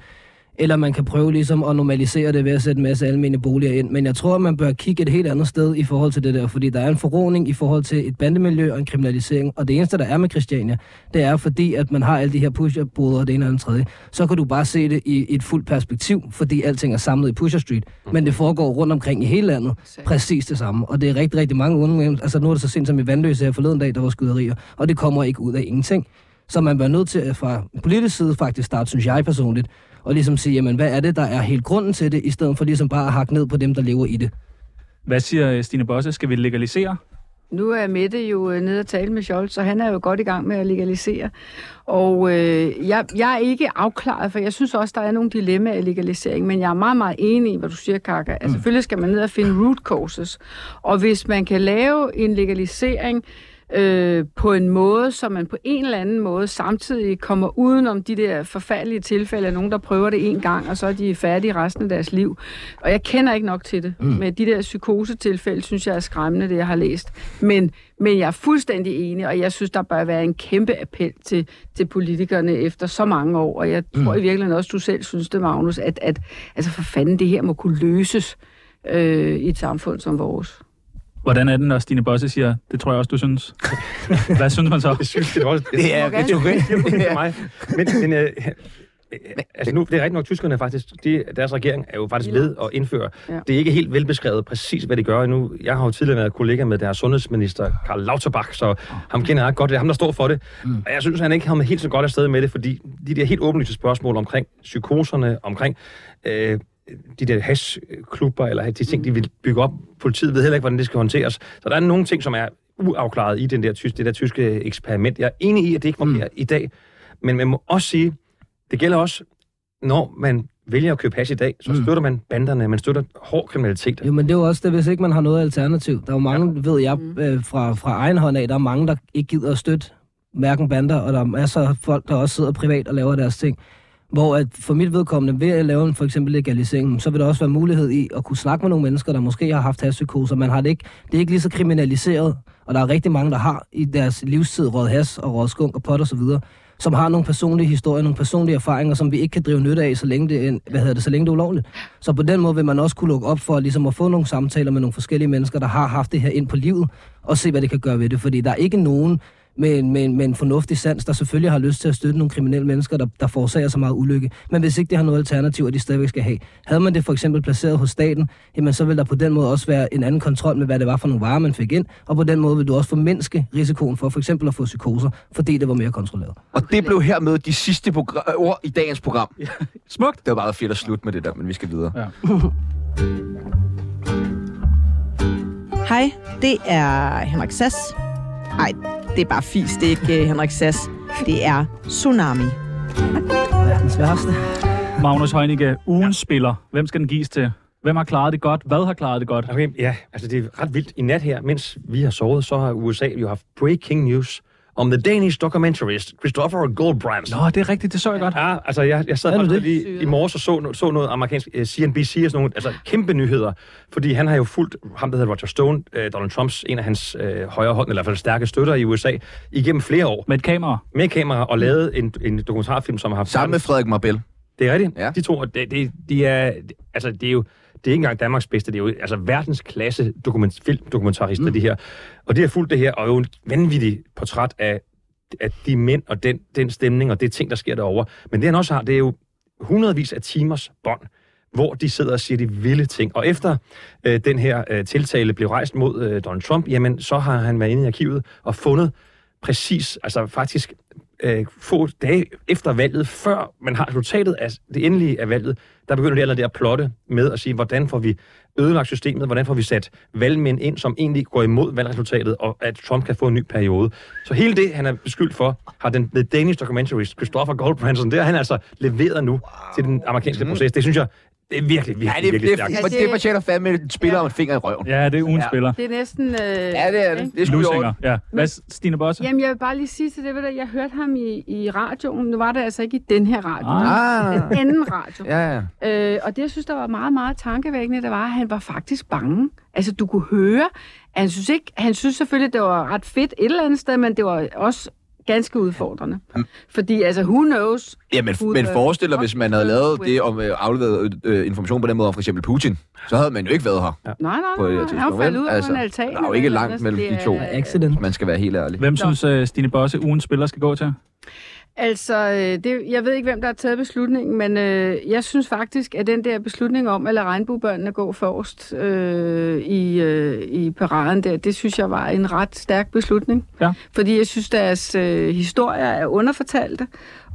E: Eller man kan prøve ligesom at normalisere det ved at sætte en masse almene boliger ind. Men jeg tror, at man bør kigge et helt andet sted i forhold til det der, fordi der er en forroning i forhold til et bandemiljø og en kriminalisering. Og det eneste, der er med Christiania, det er fordi, at man har alle de her pusherboder og det ene og det tredje. Så kan du bare se det i et fuldt perspektiv, fordi alting er samlet i Pusher Street. Men det foregår rundt omkring i hele landet. Præcis det samme. Og det er rigtig, rigtig mange unge. Altså nu er det så sent som i Vandløse her forleden dag, der var skyderier. Og det kommer ikke ud af ingenting. Så man var nødt til at fra politisk side faktisk starte, synes jeg personligt, og ligesom sige, jamen, hvad er det, der er helt grunden til det, i stedet for ligesom bare at hakke ned på dem, der lever i det.
B: hvad siger øh, Stine Bosse? Skal vi legalisere?
C: Nu er Mette jo øh, nede og tale med Scholz, og han er jo godt i gang med at legalisere. Og øh, jeg, jeg er ikke afklaret, for jeg synes også, der er nogle dilemmaer i legalisering, men jeg er meget, meget enig i, hvad du siger, Kaka. Altså, Selvfølgelig skal man ned og finde root causes. Og hvis man kan lave en legalisering øh, på en måde, så man på en eller anden måde samtidig kommer udenom de der forfærdelige tilfælde af nogen, der prøver det en gang, og så er de færdige resten af deres liv. Og jeg kender ikke nok til det. Mm. Men de der psykosetilfælde, synes jeg er skræmmende, det jeg har læst. Men, men jeg er fuldstændig enig, og jeg synes, der bør være en kæmpe appel til, til politikerne efter så mange år. Og jeg tror i virkeligheden også, du selv synes det, Magnus, at, at altså for fanden, det her må kunne løses øh, i et samfund som vores.
B: Hvordan er den, når Stine Bosse siger, det tror jeg også,
A: (laughs)
B: du synes? Hvad synes man så?
D: Jeg synes, det er også... Jeg
A: Det er
C: Okay. (laughs)
A: retorik.
D: det er mig. Men, men øh, øh, altså nu, det er rigtigt nok, tyskerne faktisk, de, deres regering er jo faktisk ved at indføre.
C: Ja.
D: Ja. Det er ikke helt velbeskrevet præcis, hvad de gør endnu. Jeg har jo tidligere været kollega med deres sundhedsminister, Karl Lauterbach, så ham kender jeg godt. Det er ham, der står for det. Mm. Og jeg synes, han ikke har helt så godt afsted med det, fordi de der helt åbenlyse spørgsmål omkring psykoserne, omkring... Øh, de der hashklubber, eller de ting, de vil bygge op. Politiet ved heller ikke, hvordan det skal håndteres. Så der er nogle ting, som er uafklaret i den der, tysk, det der tyske eksperiment. Jeg er enig i, at det ikke fungerer mm. i dag, men man må også sige, det gælder også, når man vælger at købe hash i dag, så mm. støtter man banderne, man støtter hård kriminalitet.
E: Jo, men det er jo også det, hvis ikke man har noget alternativ. Der er jo mange, ja. ved jeg, øh, fra, fra egen hånd af, der er mange, der ikke gider at støtte hverken bander, og der er masser af folk, der også sidder privat og laver deres ting. Hvor at for mit vedkommende, ved at lave en for eksempel legalisering, så vil der også være mulighed i at kunne snakke med nogle mennesker, der måske har haft hashpsykoser. Man har det ikke, det er ikke lige så kriminaliseret, og der er rigtig mange, der har i deres livstid råd has og råd skunk og pot og så videre, som har nogle personlige historier, nogle personlige erfaringer, som vi ikke kan drive nytte af, så længe det er, en- hvad hedder det, så længe det er ulovligt. Så på den måde vil man også kunne lukke op for ligesom at få nogle samtaler med nogle forskellige mennesker, der har haft det her ind på livet, og se, hvad det kan gøre ved det. Fordi der er ikke nogen, med en, med, en, med en fornuftig sans, der selvfølgelig har lyst til at støtte nogle kriminelle mennesker, der, der forårsager så meget ulykke. Men hvis ikke det har noget alternativ, at de stadigvæk skal have. Havde man det for eksempel placeret hos staten, jamen så vil der på den måde også være en anden kontrol med, hvad det var for nogle varer, man fik ind. Og på den måde vil du også formindske risikoen for for eksempel at få psykoser, fordi det var mere kontrolleret.
A: Og det blev hermed de sidste progr- ord i dagens program.
B: Smukt!
A: Det var meget fedt at slutte med det der, men vi skal videre.
G: Hej, det er Henrik Sass. Nej, det er bare fis, det er ikke øh, Henrik Sass. Det er Tsunami.
E: Den sværeste.
B: Magnus Heunicke, ugens spiller. Hvem skal den gives til? Hvem har klaret det godt? Hvad har klaret det godt?
D: Okay, ja, altså det er ret vildt. I nat her, mens vi har sovet, så har USA jo haft breaking news om the Danish documentarist Christopher Goldbrandt.
B: Nå, det er rigtigt, det så jeg godt.
D: Ja, altså jeg, jeg sad
E: Er du
D: faktisk
E: det?
D: lige i morges og så, no- så noget amerikansk uh, CNBC og sådan nogle altså, kæmpe nyheder, fordi han har jo fulgt ham, der hedder Roger Stone, uh, Donald Trumps, en af hans uh, højre hånd, eller i hvert fald stærke støtter i USA, igennem flere år
B: Med et kamera.
D: med kamera og lavet en, en dokumentarfilm, som har haft...
A: Sammen med Frederik Marbel.
D: Det er rigtigt.
A: Ja.
D: Ja. De to, og det, det, de er, altså, det er jo det er ikke engang Danmarks bedste, det er jo altså verdensklasse dokument, filmdokumentarister, mm. de her. Og de har fulgt det her, og jo en vanvittig portræt af, af de mænd og den, den stemning og det ting, der sker derovre. Men det han også har, det er jo hundredvis af timers bånd, hvor de sidder og siger de vilde ting. Og efter øh, den her øh, tiltale blev rejst mod øh, Donald Trump, jamen så har han været inde i arkivet og fundet præcis, altså faktisk øh, få dage efter valget, før man har resultatet af det endelige af valget, der begynder det allerede at plotte med at sige, hvordan får vi ødelagt systemet, hvordan får vi sat valgmænd ind, som egentlig går imod valgresultatet, og at Trump kan få en ny periode. Så hele det, han er beskyldt for, har den The Danish documentarist Christopher Goldbranson, det har han altså leveret nu til den amerikanske proces. Det synes jeg, det er virkelig, virkelig,
A: Ja, det,
D: virkelig
A: det, det,
D: stærkt.
A: det fortjener fandme en spiller om en finger i røven.
B: Ja, det er ugen
A: Ja.
B: spiller.
C: Det er næsten... Øh,
A: Ja, det er det. Det er sgu i orden.
B: Lusinger. Ja. Hvad, Stine Bosse?
C: Jamen, jeg vil bare lige sige til det, ved du, jeg hørte ham i, i radioen. Nu var det altså ikke i den her radio.
B: Nej.
A: Ah,
C: Den anden radio.
A: (laughs) ja, ja.
C: Øh, og det, jeg synes, der var meget, meget tankevækkende, det var, at han var faktisk bange. Altså, du kunne høre, at han synes, ikke, han synes selvfølgelig, det var ret fedt et eller andet sted, men det var også ganske udfordrende. Fordi, altså, who knows?
A: Ja, men,
C: Ude
A: men
C: på-
A: forestil dig, hvis man havde lavet det om øh, afleveret øh, information på den måde om for eksempel Putin, så havde man jo ikke været her.
C: Nej, nej,
A: På et
C: nej, nej.
A: tidspunkt,
C: han var faldet
A: vel?
C: ud altså,
A: Altså,
C: på en altan.
A: der er jo
C: eller
A: ikke
C: noget,
A: langt
C: så
A: mellem
C: det
A: de
C: er-
A: to.
E: Accident.
A: Man skal være helt ærlig.
B: Hvem synes øh, Stine Bosse, ugen spiller skal gå til?
C: Altså, øh, det, jeg ved ikke, hvem der har taget beslutningen, men øh, jeg synes faktisk, at den der beslutning om at lade regnbuebørnene gå forrest øh, i, øh, i paraden der, det synes jeg var en ret stærk beslutning.
B: Ja.
C: Fordi jeg synes, deres øh, historier er underfortalte.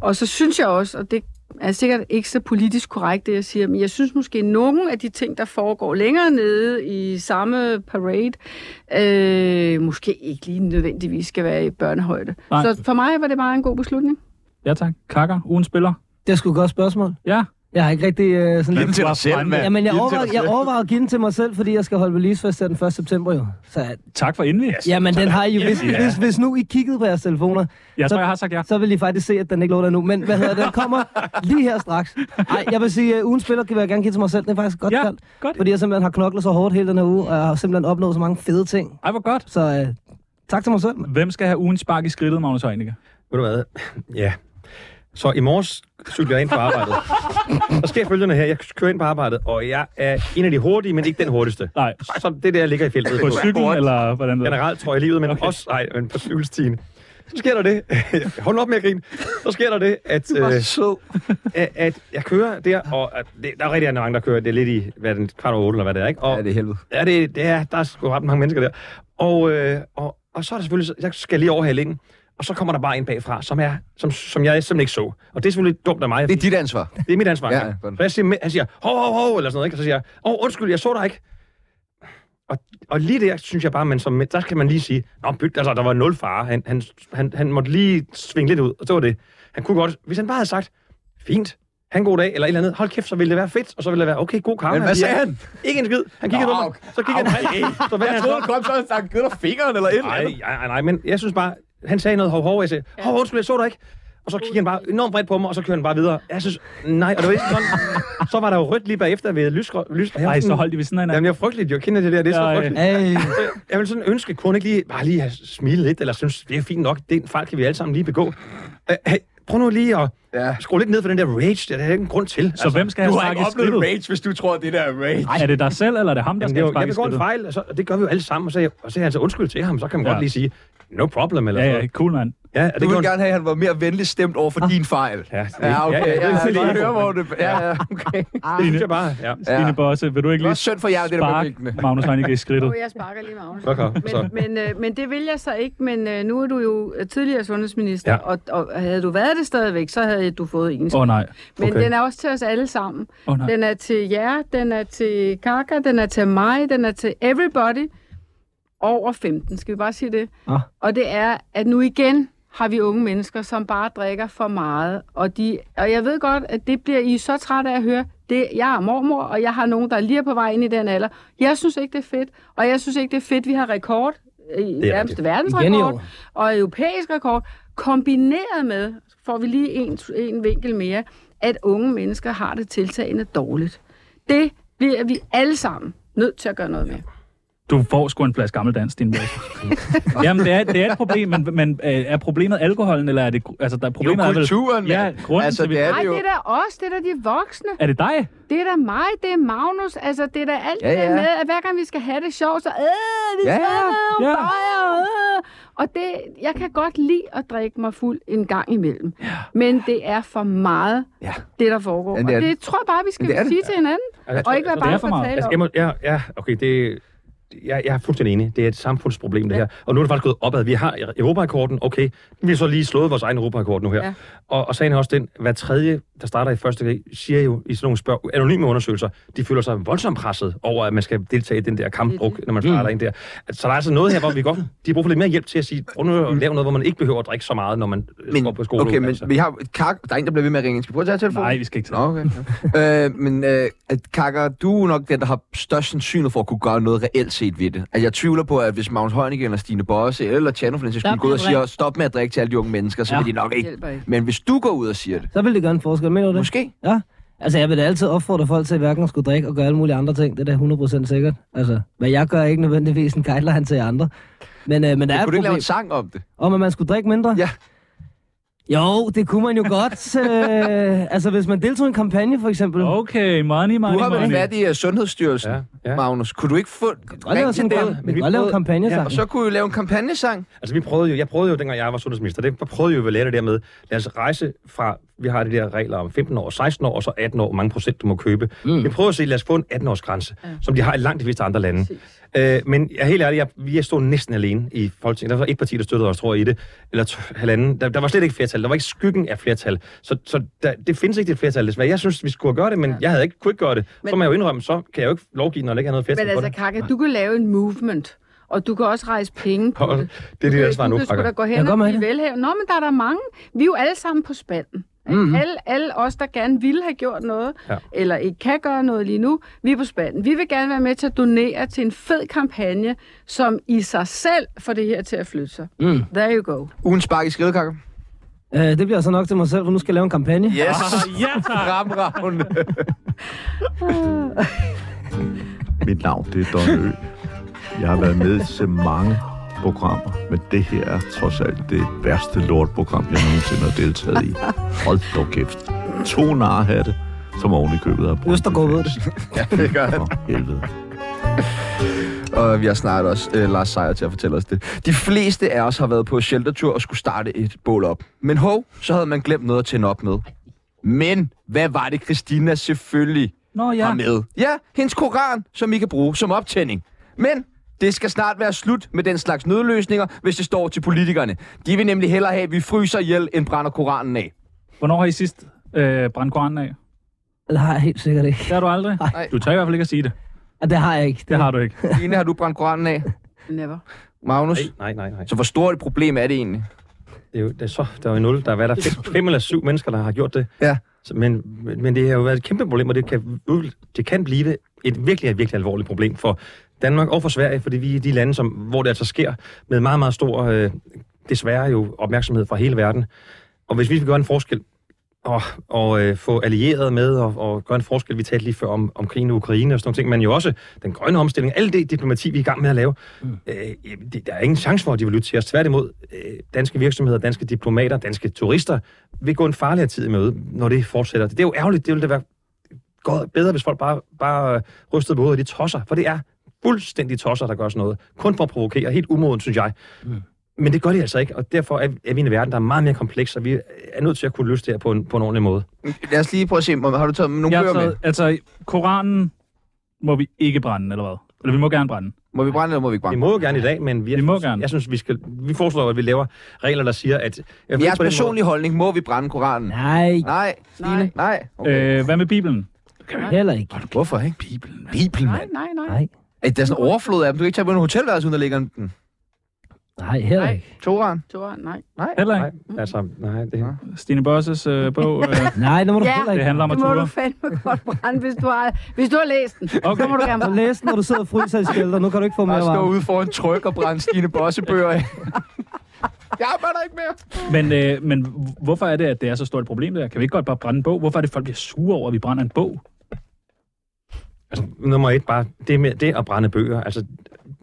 C: Og så synes jeg også, og det er sikkert ikke så politisk korrekt, det jeg siger, men jeg synes måske, at nogle af de ting, der foregår længere nede i samme parade, øh, måske ikke lige nødvendigvis skal være i børnehøjde.
B: Nej.
C: Så for mig var det bare en god beslutning.
B: Ja tak. Kakker, ugen spiller.
E: Det er sgu et godt spørgsmål.
B: Ja.
E: Jeg har ikke rigtig øh, sådan...
A: Giv den til dig selv, mand.
E: Jamen, jeg
A: Giv den til dig
E: overvejer, jeg
A: selv.
E: overvejer at give den til mig selv, fordi jeg skal holde releasefest her den 1. september jo. Så øh,
B: Tak for indvig.
E: Jamen, den har I jo. Hvis, hvis, hvis nu I kiggede på jeres telefoner,
B: Jeg
E: så-
B: tror, jeg har sagt ja.
E: så vil I faktisk se, at den ikke lå der nu. Men hvad hedder det? Den kommer lige her straks. Ej, jeg vil sige, at ugen spiller kan jeg gerne give til mig selv. Det er faktisk godt
B: Ja,
E: kaldt.
B: godt.
E: Fordi jeg simpelthen har knoklet så hårdt hele den her uge, og jeg har simpelthen opnået så mange fede ting.
B: Ej, hvor godt.
E: Så øh, tak til mig selv. mand.
B: Hvem skal have ugen spark i skridtet, Magnus Heunicke?
D: Ved du hvad? Ja. Så i morges cyklede jeg ind på arbejdet. Der sker følgende her. Jeg kører ind på arbejdet, og jeg er en af de hurtige, men ikke den hurtigste.
B: Nej,
D: Så det er der, jeg ligger i feltet.
B: på cyklen, eller hvordan det er.
D: Generelt tror jeg i livet, men okay. også nej, men på cykelstien. Så sker der det. (laughs) Hold nu op med at grine. Så sker der det, at, øh,
A: sød.
D: at- at jeg kører der, og at det, der er rigtig mange, der kører. Det er lidt i hvad er den, kvart over otte, eller hvad det er. Ikke? Og,
A: Ja, det er helvede.
D: Ja, det, det er, der er sgu ret mange mennesker der. Og, øh, og, og så er der selvfølgelig, så- jeg skal lige overhale ind, og så kommer der bare en bagfra, som, er, som, som jeg simpelthen ikke så. Og det er selvfølgelig dumt af mig.
A: Det er dit (laughs) ansvar.
D: det er mit ansvar.
A: Ja,
D: Ja,
A: godt.
D: så jeg siger, han siger, hov, hov, hov, eller sådan noget, ikke? Og så siger jeg, åh, undskyld, jeg så dig ikke. Og, og lige der, synes jeg bare, men som, der skal man lige sige, nå, byt, altså, der var nul fare. Han, han, han, han måtte lige svinge lidt ud, og det var det. Han kunne godt, hvis han bare havde sagt, fint, han god dag, eller et eller andet, hold kæft, så ville det være fedt, og så ville det være, okay, god karma.
A: Men hvad
D: Vi er-
A: sagde han?
D: Ikke en skid. Han kiggede
A: Nå,
D: på mig.
A: okay.
D: Så kiggede han. Så vendte han sig om.
A: kom så og sagde, giv dig fingeren eller et
D: Nej, nej, nej, nej, men jeg synes bare, han sagde noget hov, hov, og jeg sagde, hov, undskyld, jeg så dig ikke. Og så kiggede han bare enormt bredt på mig, og så kørte han bare videre. Jeg synes, nej, og det var ikke sådan. Så var der jo rødt lige bagefter ved lys. lys og jeg var
B: Nej, så
D: sådan-
B: holdt de ved siden af
D: Jamen,
B: hinanden.
D: jeg er frygteligt, jeg kender det der, det er så
B: Ej.
D: frygteligt.
E: Ej,
D: Jeg vil sådan ønske, kunne han ikke lige, bare lige have smilet lidt, eller synes, det er fint nok, det er en fejl, kan vi alle sammen lige begå. Øh, Hey, prøv nu lige at
A: Ja.
D: skrue lidt ned for den der rage, det er der ikke en grund til. Altså,
B: Så hvem skal
A: altså, Du
B: have
A: har
B: spark
A: ikke
B: i
A: oplevet
B: skridtet?
A: rage, hvis du tror, det der er rage.
B: Er det dig selv, eller er det ham, der skal
D: Jamen, det
B: have
D: er jo, jeg
B: spark i
D: begår en
B: skridtet?
D: fejl, og, så, og det gør vi jo alle sammen, og så er jeg, og så er jeg altså undskyld til ham, så kan man
B: Ja.
D: godt lige sige, no problem, eller
B: Ja,
D: sådan
B: ja, cool mand.
D: noget. Ja, og
A: Du
D: det
A: ville
D: gjorde
A: gerne have, at han var mere venligt stemt over for din fejl.
D: Ja, det-
A: ja, okay.
D: ja, ja, det er
A: Ja,
D: lige-
A: ja, hører, hvor det... Ja, ja, okay.
D: han. Det synes jeg bare, ja.
B: Stine Bosse, vil du ikke
A: Det var
B: lige
A: synd for jer, det der med bænkene.
B: spark Magnus Heunicke i skridtet?
C: (laughs) Jo, jeg sparker lige Magnus.
D: Okay, så.
C: Men, men, øh, men det vil jeg så ikke, men øh, nu er du jo øh, tidligere sundhedsminister,
D: Ja.
C: ja. og, og havde du været det stadigvæk, så havde du fået en.
B: Åh oh, nej.
C: Men
D: okay.
C: den er også til os alle sammen.
B: Åh oh, nej.
C: Den er til jer, den er til Kaka, den er til mig, den er til everybody over 15, skal vi bare sige det.
E: Ah.
C: Og det er, at nu igen har vi unge mennesker, som bare drikker for meget. Og, de, og jeg ved godt, at det bliver I så trætte af at høre. Det, jeg er mormor, og jeg har nogen, der lige er på vej ind i den alder. Jeg synes ikke, det er fedt. Og jeg synes ikke, det er fedt, vi har rekord. I nærmest
D: rigtigt.
E: igen i
C: verdensrekord
E: år.
C: og europæisk rekord, kombineret med, får vi lige en, en vinkel mere, at unge mennesker har det tiltagende dårligt. Det bliver vi alle sammen nødt til at gøre noget med.
B: Du får sgu en flaske gammeldans, din
C: (laughs)
B: mor. Jamen, det er, det er et problem, men, men øh, er problemet alkoholen, eller er det... gru- Altså, der er
A: Jo,
B: problemet er vel...
A: kulturen,
B: Ja,
A: mand.
B: grunden
A: altså,
B: til, vi-
A: det er
C: Nej,
A: det jo.
C: det er da os, det er da de voksne,
B: Er det dig?
C: det er da mig, det er Magnus, altså det er da alt
A: Ja,
C: ja, ja. det
A: ja.
C: med, at hver gang vi skal have det sjovt, så øh, vi
A: Ja,
C: skal
A: ja.
C: have nogle
B: Ja.
C: bajer, øh. Og det, jeg kan godt lide at drikke mig fuld en gang imellem, ja. men det er for meget,
A: Ja.
C: det der foregår.
A: Ja, det er
C: og
A: det.
C: det tror jeg bare, vi skal
A: det er det.
C: sige til hinanden,
D: Altså, jeg
C: og
D: tror-
C: ikke være
B: tror, det er
C: bange
B: for
C: for at
B: meget.
C: tale
D: Altså,
C: om.
D: jeg må, ja, ja, okay, det, jeg, jeg er fuldstændig enig. Det er et samfundsproblem, det her. Og nu er det faktisk gået opad. Vi har Europarekorden, okay. Vi har så lige slået vores egen Europarekord nu her.
C: Ja.
D: Og, og sagen er også den, hver tredje, der starter i første krig, siger jo i sådan nogle spørg, anonyme undersøgelser, de føler sig voldsomt presset over, at man skal deltage i den der kampdruk, når man starter mm. ind der. Så der er altså noget her, hvor vi godt, de har brug for lidt mere hjælp til at sige, prøv nu at lave noget, hvor man ikke behøver at drikke så meget, når man øh,
A: Men,
D: går på skole.
A: okay, men
D: altså.
A: vi har... Kak, der er en, der bliver ved med at ringe. ind. Skal vi prøve at tage telefonen?
B: Nej, vi skal ikke
A: Nå,
B: tage
A: okay. øh, men øh, at Kakker, du er nok den, der har størst sandsynlighed for at kunne gøre noget reelt set ved det. Altså, jeg tvivler på, at hvis Magnus Heunicke eller Stine Bosse eller Tjerno for den sags skyld
F: Stop
A: går ud og
F: med at
A: siger, stop med at drikke til alle de unge mennesker, så ja.
B: Ja.
A: vil de nok
C: Det
A: ikke.
C: hjælper ikke.
A: Men hvis du går ud og siger det,
E: Så vil det gøre en forskel, mener du det?
A: måske.
E: Ja. Altså, jeg vil da altid opfordre folk til at hverken at skulle drikke og gøre alle mulige andre ting. Det er da 100% sikkert. Altså, hvad jeg gør er ikke nødvendigvis en guideline til jer andre. Men, øh, men der er
A: Ja,
E: et
A: kunne du ikke lave
E: problem.
A: en sang om det?
E: Om at man skulle drikke mindre?
A: Ja.
E: Jo, det kunne man jo godt. øh, altså, hvis man deltog i en kampagne, for eksempel.
B: Okay, money, money,
A: Du har været
B: money.
A: fat i uh, Sundhedsstyrelsen,
D: Ja,
A: ja,
D: ja.
A: ja. Magnus. Kunne du ikke få...
E: Godt lave sådan en
A: Ring til dem,
E: kamp- vi
D: men vi
E: kan godt lave
D: prøvede-
E: kampagnesang.
A: Og så kunne I lave en kampagnesang.
D: Altså, vi prøvede jo, jeg prøvede jo, dengang jeg var sundhedsminister, det prøvede jo at lære det der med, lad os rejse fra, vi har de der regler om 15 år, 16 år, og så 18 år, hvor mange procent du må købe. Mm. Vi prøver at se, lad os få en 18-års grænse, ja. som de har i langt de fleste andre lande. Øh, men jeg er helt ærlig, jeg, jeg stod næsten alene i Folketinget. Der var et parti, der støttede os, tror jeg, i det, eller to, halvanden. Der, der, var slet ikke flertal. Der var ikke skyggen af flertal. Så, så der, det findes ikke et flertal, desværre. Jeg synes, vi skulle gøre det, men ja. jeg havde ikke, kunne ikke gøre det. Men, så
C: Men-
D: må jeg jo indrømme, så kan jeg jo ikke lovgive, når der ikke er noget flertal
C: Men
D: på
C: altså,
D: det.
C: Kaka, du kan lave en movement, og du kan også rejse penge på
D: Og
C: det.
D: det er altså det, der svarer
C: du
D: nu,
C: kan sgu da
D: Frakker.
C: gå
E: Jeg
C: hen
E: går
C: og
E: med
C: blive
E: det.
C: velhaven. Nå, men der er der mange. Vi er jo alle sammen på spanden. Mm-hmm. Alle, alle os, der gerne ville have gjort noget,
D: Ja.
C: ja. eller ikke kan gøre noget lige nu, vi er på spanden. Vi vil gerne være med til at donere til en fed kampagne, som i sig selv får det her til at flytte sig.
E: Mm.
C: There you go.
A: Ugen spark i skrivekakker.
E: Øh, det bliver så nok til mig selv, for nu skal jeg lave en kampagne. (laughs)
A: Yes.
B: Ja, tak.
A: Fremragende. Mit navn, det er Don Ø.
H: Jeg har været med til mange programmer, men det her er trods alt det værste lortprogram, jeg nogensinde har deltaget i. Hold dog kæft. To narhatte, som oven i købet har brugt.
E: Østergaard ved det.
A: Ja, det gør han.
H: For helvede.
A: Og vi har snart også øh, Lars Seier til at fortælle os det. De fleste af os har været på sheltertur og skulle starte et bål op. Men hov, så havde man glemt noget at tænde op med. Men hvad var det, Christina selvfølgelig
B: Nå
A: ja.
B: ja,
A: har med. Ja, hendes koran, som I kan bruge som optænding. Men det skal snart være slut med den slags nødløsninger, hvis det står til politikerne. De vil nemlig hellere have, at vi fryser ihjel, end brænder koranen af.
B: hvornår har I sidst øh, brændt koranen af?
E: Det har jeg helt sikkert ikke.
B: Det har du aldrig.
E: Nej.
B: Du tør i hvert fald ikke at sige det.
E: Og det har jeg ikke.
B: Det har du ikke.
A: Line, har du brændt koranen af?
C: Never.
A: Magnus?
D: Nej, nej, nej.
A: Så hvor stort et problem er det egentlig?
D: Det er jo, det er så, der er jo nul. Der er, hvad, der er fem, fem eller syv mennesker, der har gjort det.
A: Ja.
D: Så, men, men det har jo været et kæmpe problem, og det kan, ud- det kan blive et virkelig, et virkelig alvorligt problem for Danmark og for Sverige, fordi vi er de lande, som, hvor det altså sker med meget, meget stor, øh, desværre jo, opmærksomhed fra hele verden. Og hvis vi vil gøre en forskel og, og øh, få allieret med og, og gøre en forskel, vi talte lige før om, om krigen i Ukraine og sådan nogle ting, men jo også den grønne omstilling, alt det diplomati, vi er i gang med at lave, Øh, jamen, det- der er ingen chance for, at de vil lytte til os. Tværtimod, øh, danske virksomheder, danske diplomater, danske turister vil gå en farligere tid i møde, når det fortsætter. Det er jo ærgerligt. Det ville da være godt, bedre, hvis folk bare, bare øh, rystede på hovedet, de tosser. For det er fuldstændig tosser, der gør sådan noget. Kun for at provokere. Helt umoden, synes jeg.
B: Mm.
D: Men det gør de altså ikke, og derfor er, er vi i en verden, der er meget mere kompleks, og vi er nødt til at kunne løse det her på en, på en ordentlig måde.
A: Lad os lige prøve at se, om- har du taget nogle
B: Jeg har
A: bøger med?
B: taget, altså, koranen må vi ikke brænde, eller hvad? Eller vi må gerne brænde.
A: Må vi brænde, eller må vi ikke
D: Vi
A: brænde?
D: må jo gerne i dag, men vi,
B: Vi må gerne.
D: jeg synes, vi, skal, vi foreslår, at vi laver regler, der siger, at... Jeg
A: Jeres personlige holdning, må vi brænde koranen?
E: Nej,
A: Nej, Stine?
C: Nej.
A: Nej. Okay.
B: Okay. Øh, hvad med Bibelen?
E: heller ikke.
A: Hvorfor ikke? Bibelen. Bibelen,
C: Nej,
A: mand.
C: nej, nej.
E: Nej,
A: Ej, Der er sådan en overflod af dem. Du kan ikke tage på en hotelværelse, uden der ligger en- den.
E: nej heller
C: Nej.
E: ikke.
A: Toran?
C: Tora, nej.
B: Heller ikke.
D: Nej, altså, nej, det,
B: Stine Bosses øh, bog. Øh,
E: Nej, det må du
C: Ja.
E: heller
B: det
E: ikke.
B: handler om at
C: Det må du
B: ture.
C: fandme godt brænde, hvis du har, hvis du har læst den. Okay. Så må du gerne
E: Du
C: brænde.
E: læste, når du sidder og fryser i skelter. Nu kan du ikke få mere
A: Bare stå
E: varme.
A: ude foran tryk og brænde Stine Bossebøger af. Jeg arbejder ikke mere.
B: Men, øh, men hvorfor er det, at det er så stort et problem der? Kan vi ikke godt bare brænde en bog? Hvorfor er det, at folk bliver sure over, at vi brænder en bog?
D: Altså, nummer et, bare det, med, det at brænde bøger. Altså,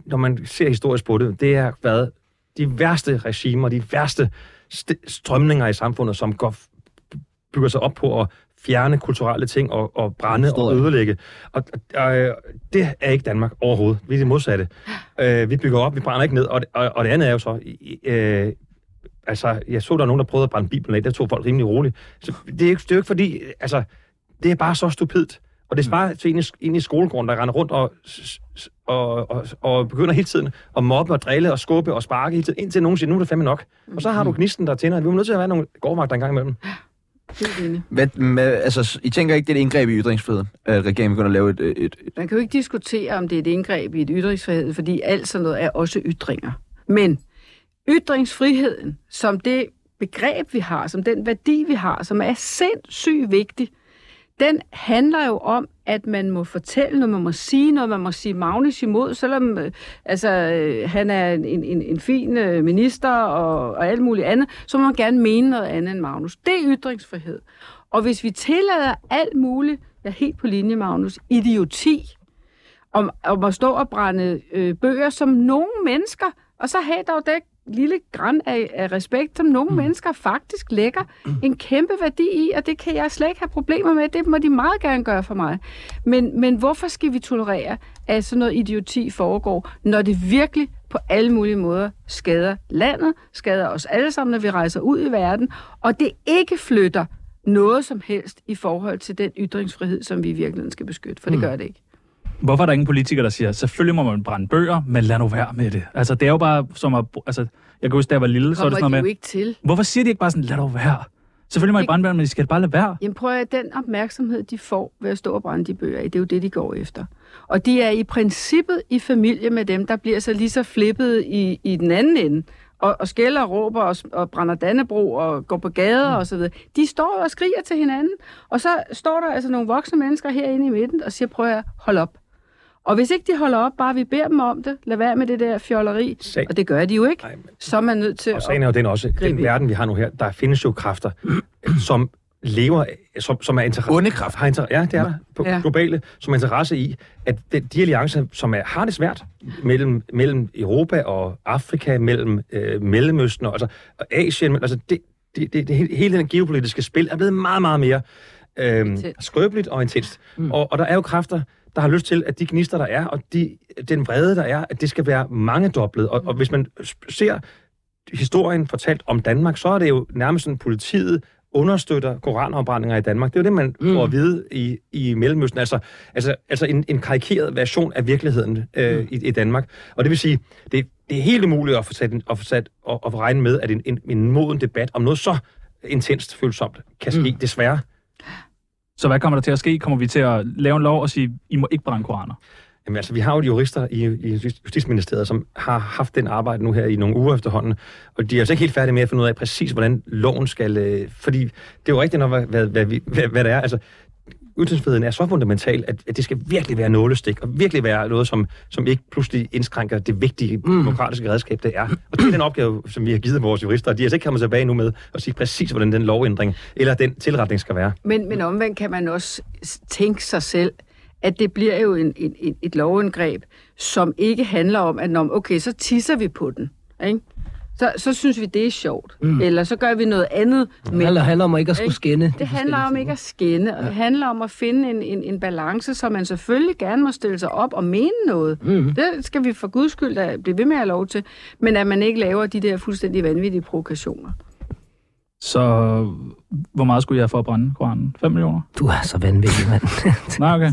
D: når man ser historisk på det, det har været de værste regimer, de værste st- strømninger i samfundet, som går, bygger sig op på at fjerne kulturelle ting og, og brænde og
E: Historie.
D: ødelægge. Og, og øh, det er ikke Danmark overhovedet. Vi er det modsatte. Øh, vi bygger op, vi brænder ikke ned. Og, det- og, og det andet er jo så... i- i- Øh, altså, jeg så, der er nogen, der prøvede at brænde Bibelen af. Der tog folk rimelig roligt. Så det er, jo ikke- det er jo ikke fordi... Altså, det er bare så stupidt. Og det svarer til en i, en i skolegården, der render rundt og, s- s- og, og, og begynder hele tiden at mobbe og drille og skubbe og sparke hele tiden, indtil nogen siger, nu er det fandme nok. Og så har du gnisten, der tænder. Vi er nødt til at være nogle gårdvagter en gang imellem.
C: Helt enig.
A: Hvad, med, altså, s- I tænker ikke, det er et indgreb i ytringsfriheden, at regeringen begynder at lave et... et, et
C: Man kan jo ikke diskutere, om det er et indgreb i et ytringsfrihed, fordi alt sådan noget er også ytringer. Men ytringsfriheden, som det begreb, vi har, som den værdi, vi har, som er sindssygt vigtig, den handler jo om, at man må fortælle noget, man må sige noget, man må sige Magnus imod, selvom øh, altså, øh, han er en, en, en fin øh, minister og, og alt muligt andet, så må man gerne mene noget andet end Magnus. Det er ytringsfrihed. Og hvis vi tillader alt muligt, jeg er helt på linje, Magnus, idioti, om, om at stå og brænde øh, bøger som nogle mennesker, og så have dog det lille græn af, af respekt, som nogle mm. mennesker faktisk lægger en kæmpe værdi i, og det kan jeg slet ikke have problemer med. Det må de meget gerne gøre for mig. Men, men hvorfor skal vi tolerere, at sådan noget idioti foregår, når det virkelig på alle mulige måder skader landet, skader os alle sammen, når vi rejser ud i verden, og det ikke flytter noget som helst i forhold til den ytringsfrihed, som vi i virkeligheden skal beskytte, for det gør det ikke.
B: Hvorfor er der ingen politikere, der siger, selvfølgelig må man brænde bøger, men lad nu være med det. Altså, det er jo bare som at... Altså, jeg kan huske, da jeg var lille, så var det
C: Kommer
B: sådan noget
C: de jo
B: med...
C: ikke til.
B: Hvorfor siger de ikke bare sådan, lad dog være? Selvfølgelig må I
C: Ikke-
B: brænde bøger, men I skal bare lade være.
C: Jamen prøv at høre, den opmærksomhed, de får ved at stå og brænde de bøger i, det er jo det, de går efter. Og de er i princippet i familie med dem, der bliver så lige så flippet i, i den anden ende, og, og skælder og råber og, s- og brænder Dannebro og går på gader mm. og så videre. De står og skriger til hinanden, og så står der altså nogle voksne mennesker herinde i midten og siger, prøv at høre, hold op. Og hvis ikke de holder op, bare vi beder dem om det, lad være med det der fjolleri,
D: Sag.
C: og det gør de jo ikke,
D: Ej, men-
C: så er man nødt til
D: Og
C: at...
D: sagen er jo den også,
C: Gribe
D: den
C: ind.
D: verden, vi har nu her, der findes jo kræfter, (clears throat) som lever, som, som er interesse...
A: Onde kræfter.
D: Har inter- ja, det er der. På
C: Ja.
D: ja. globale, som har interesse i, at de, de alliancer, som er, har det svært mellem, mellem Europa og Afrika, mellem øh, Mellemøsten og, altså, og Asien, men, altså det, det, det, det, hele- hele den geopolitiske spil er blevet meget, meget mere øhm,
C: Intens.
D: skrøbeligt og intenst. Mm. Og, og der er jo kræfter, der har lyst til, at de gnister, der er, og de, den vrede, der er, at det skal være mangedoblet. Og, og hvis man sp- ser historien fortalt om Danmark, så er det jo nærmest sådan, politiet understøtter koranafbrændinger i Danmark. Det er jo det, man mm. får at vide i, i Mellemøsten. Altså, altså, altså en, en karikeret version af virkeligheden øh, mm. i, i Danmark. Og det vil sige, det, det er helt umuligt at få sat, en- at få sat og, og regne med, at en, en, en moden debat om noget så intenst følsomt kan ske, mm. desværre.
B: Så hvad kommer der til at ske? Kommer vi til at lave en lov og sige, I må ikke brænde koraner?
D: Jamen altså, vi har jo de jurister i, i Justi- Justitsministeriet, som har haft den arbejde nu her i nogle uger efterhånden, og de er altså ikke helt færdige med at finde ud af præcis, hvordan loven skal... Øh, fordi det er jo rigtigt nok, hvad, hvad, hvad, vi- hvad, hvad det er. Altså, ytringsfriheden er så fundamental, at, at det skal virkelig være nålestik, og virkelig være noget, som, som ikke pludselig indskrænker det vigtige demokratiske redskab, det er. Og det er den opgave, som vi har givet vores jurister, og de er altså ikke kommet tilbage nu med at sige præcis, hvordan den lovændring eller den tilretning skal være.
C: Men, men omvendt kan man også s- tænke sig selv, at det bliver jo en, en, en, et lovindgreb, som ikke handler om, at når, okay, så tisser vi på den. Ikke? Så, så synes vi, det er sjovt. Mm. Eller så gør vi noget andet. Men
E: Det handler om at ikke at skulle
C: Ikke?
E: skænde. de
C: det handler om
E: forskellige
C: ikke at skænde, og det handler om at finde en, en, en balance, så man selvfølgelig gerne må stille sig op og mene noget. Mm. Det skal vi for guds skyld da blive ved med at have lov til. Men at man ikke laver de der fuldstændig vanvittige provokationer.
B: Så hvor meget skulle jeg for at brænde koranen? 5 millioner?
E: ting. Du er så vanvittig, mand.
B: Nej, okay.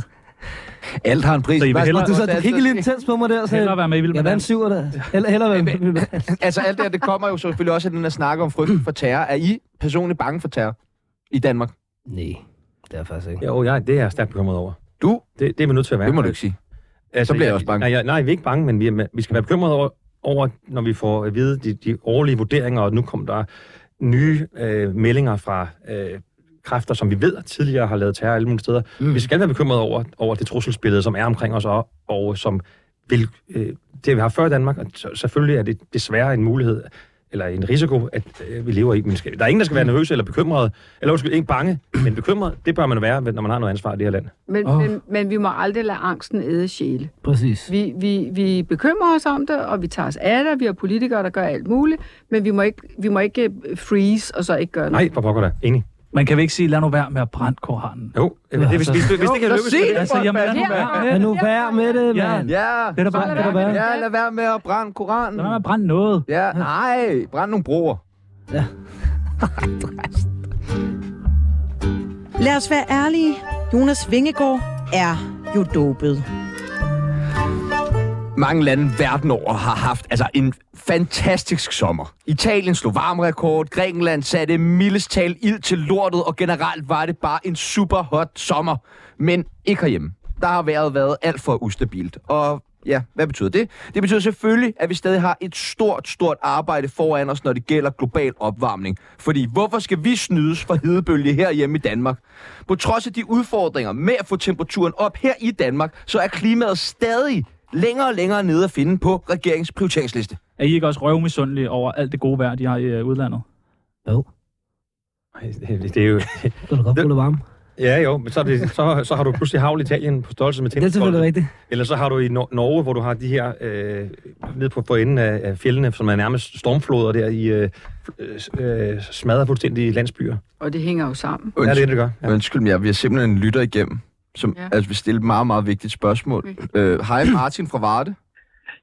A: alt har en pris.
B: Så I vil
A: Hvad-
B: hellere-
E: du så du kiggede lidt intens på mig der. Så,
B: Hellere være med i Vild
E: jeg
B: med
E: vandt
B: Dans.
E: syv der. Heller, hellere være med. i Vild med Dans.
A: Altså alt det her, det kommer jo selvfølgelig også af den her snak om frygten for terror. Er I personligt bange for terror i Danmark?
E: Nej, det er faktisk ikke.
D: Jo, jeg, det er jeg stærkt bekymret over.
A: Du?
D: Det, det er man nødt til at være.
A: Det må du ikke sige.
D: Altså,
A: Så bliver jeg også bange.
D: Nej, jeg, nej, vi er ikke bange, men vi, er, vi skal være bekymrede over, over, når vi får at vide de, de årlige vurderinger, og nu kom der nye øh, meldinger fra øh, kræfter, som vi ved tidligere har lavet terror alle mulige steder. Mm. Vi skal være bekymrede over, over det trusselsbillede, som er omkring os, og, og som vil, øh, det vi har før i Danmark, og så- selvfølgelig er det desværre en mulighed, eller en risiko, at øh, vi lever i. Men skal, der er ingen, der skal
A: Mm.
D: være nervøse eller bekymrede, eller undskyld, ikke bange, men bekymret, det bør man være, når man har noget ansvar i det her land.
C: Men,
B: Åh.
C: oh. men, men vi må aldrig lade angsten æde sjæle.
E: Præcis.
C: Vi, vi, vi bekymrer os om det, og vi tager os af det, og vi har politikere, der gør alt muligt, men vi må ikke, vi må ikke øh, freeze og så ikke gøre noget.
D: Nej, hvor pokker da. Enig.
B: Man kan vel ikke sige, lad nu være med at brænde koranen?
D: Jo, øh, det, hvis, hvis, hvis, hvis det kan lykkes...
A: sig det,
B: Altså, jamen, lad nu
C: Her
B: være
C: er-
B: med det.
E: Men nu vær med det,
B: Ja.
E: mand.
A: Ja,
B: Det er der bare,
C: Så
B: det er der
C: lad
B: bare.
C: være.
A: ja, lad være med at brænde koranen.
B: Lad nu være med at brænde noget.
A: Ja, nej, brænd nogle broer.
G: Lad os være ærlige. Jonas Vingegaard, er jo dopet.
A: Mange lande verden over har haft altså, en fantastisk sommer. Italien slog varmerekord, Grækenland satte mildest tal ild til lortet, og generelt var det bare en super hot sommer. Men ikke herhjemme. Der har været været alt for ustabilt. Og ja, hvad betyder det? Det betyder selvfølgelig, at vi stadig har et stort, stort arbejde foran os, når det gælder global opvarmning. Fordi hvorfor skal vi snydes for hedebølge herhjemme i Danmark? På trods af de udfordringer med at få temperaturen op her i Danmark, så er klimaet stadig længere og længere nede at finde på regeringens prioriteringsliste.
B: Er I ikke også røvmisundelige over alt det gode vejr, de har i øh, udlandet?
E: Jo,
D: Det er jo...
E: det er da godt
D: Det-
E: bruge varme.
D: Ja, jo, men så, er det, så, så har du pludselig havl i Italien på størrelse med
E: Det er selvfølgelig
D: tennisbolden.
E: rigtigt.
D: Eller så har du i Nor- Norge, hvor du har de her øh, ned på, på enden af, af fjellene, som er nærmest stormfloder der i øh, øh, smadrer fuldstændig landsbyer.
C: Og det hænger jo sammen.
D: Ja, det er det, det gør. Ja.
A: Ja. Undskyld mig, vi har simpelthen en lytter igennem, som ja.
C: Ja.
A: altså, vil stille et meget, meget vigtigt spørgsmål.
C: Okay.
A: Øh, Hej Martin fra Varde.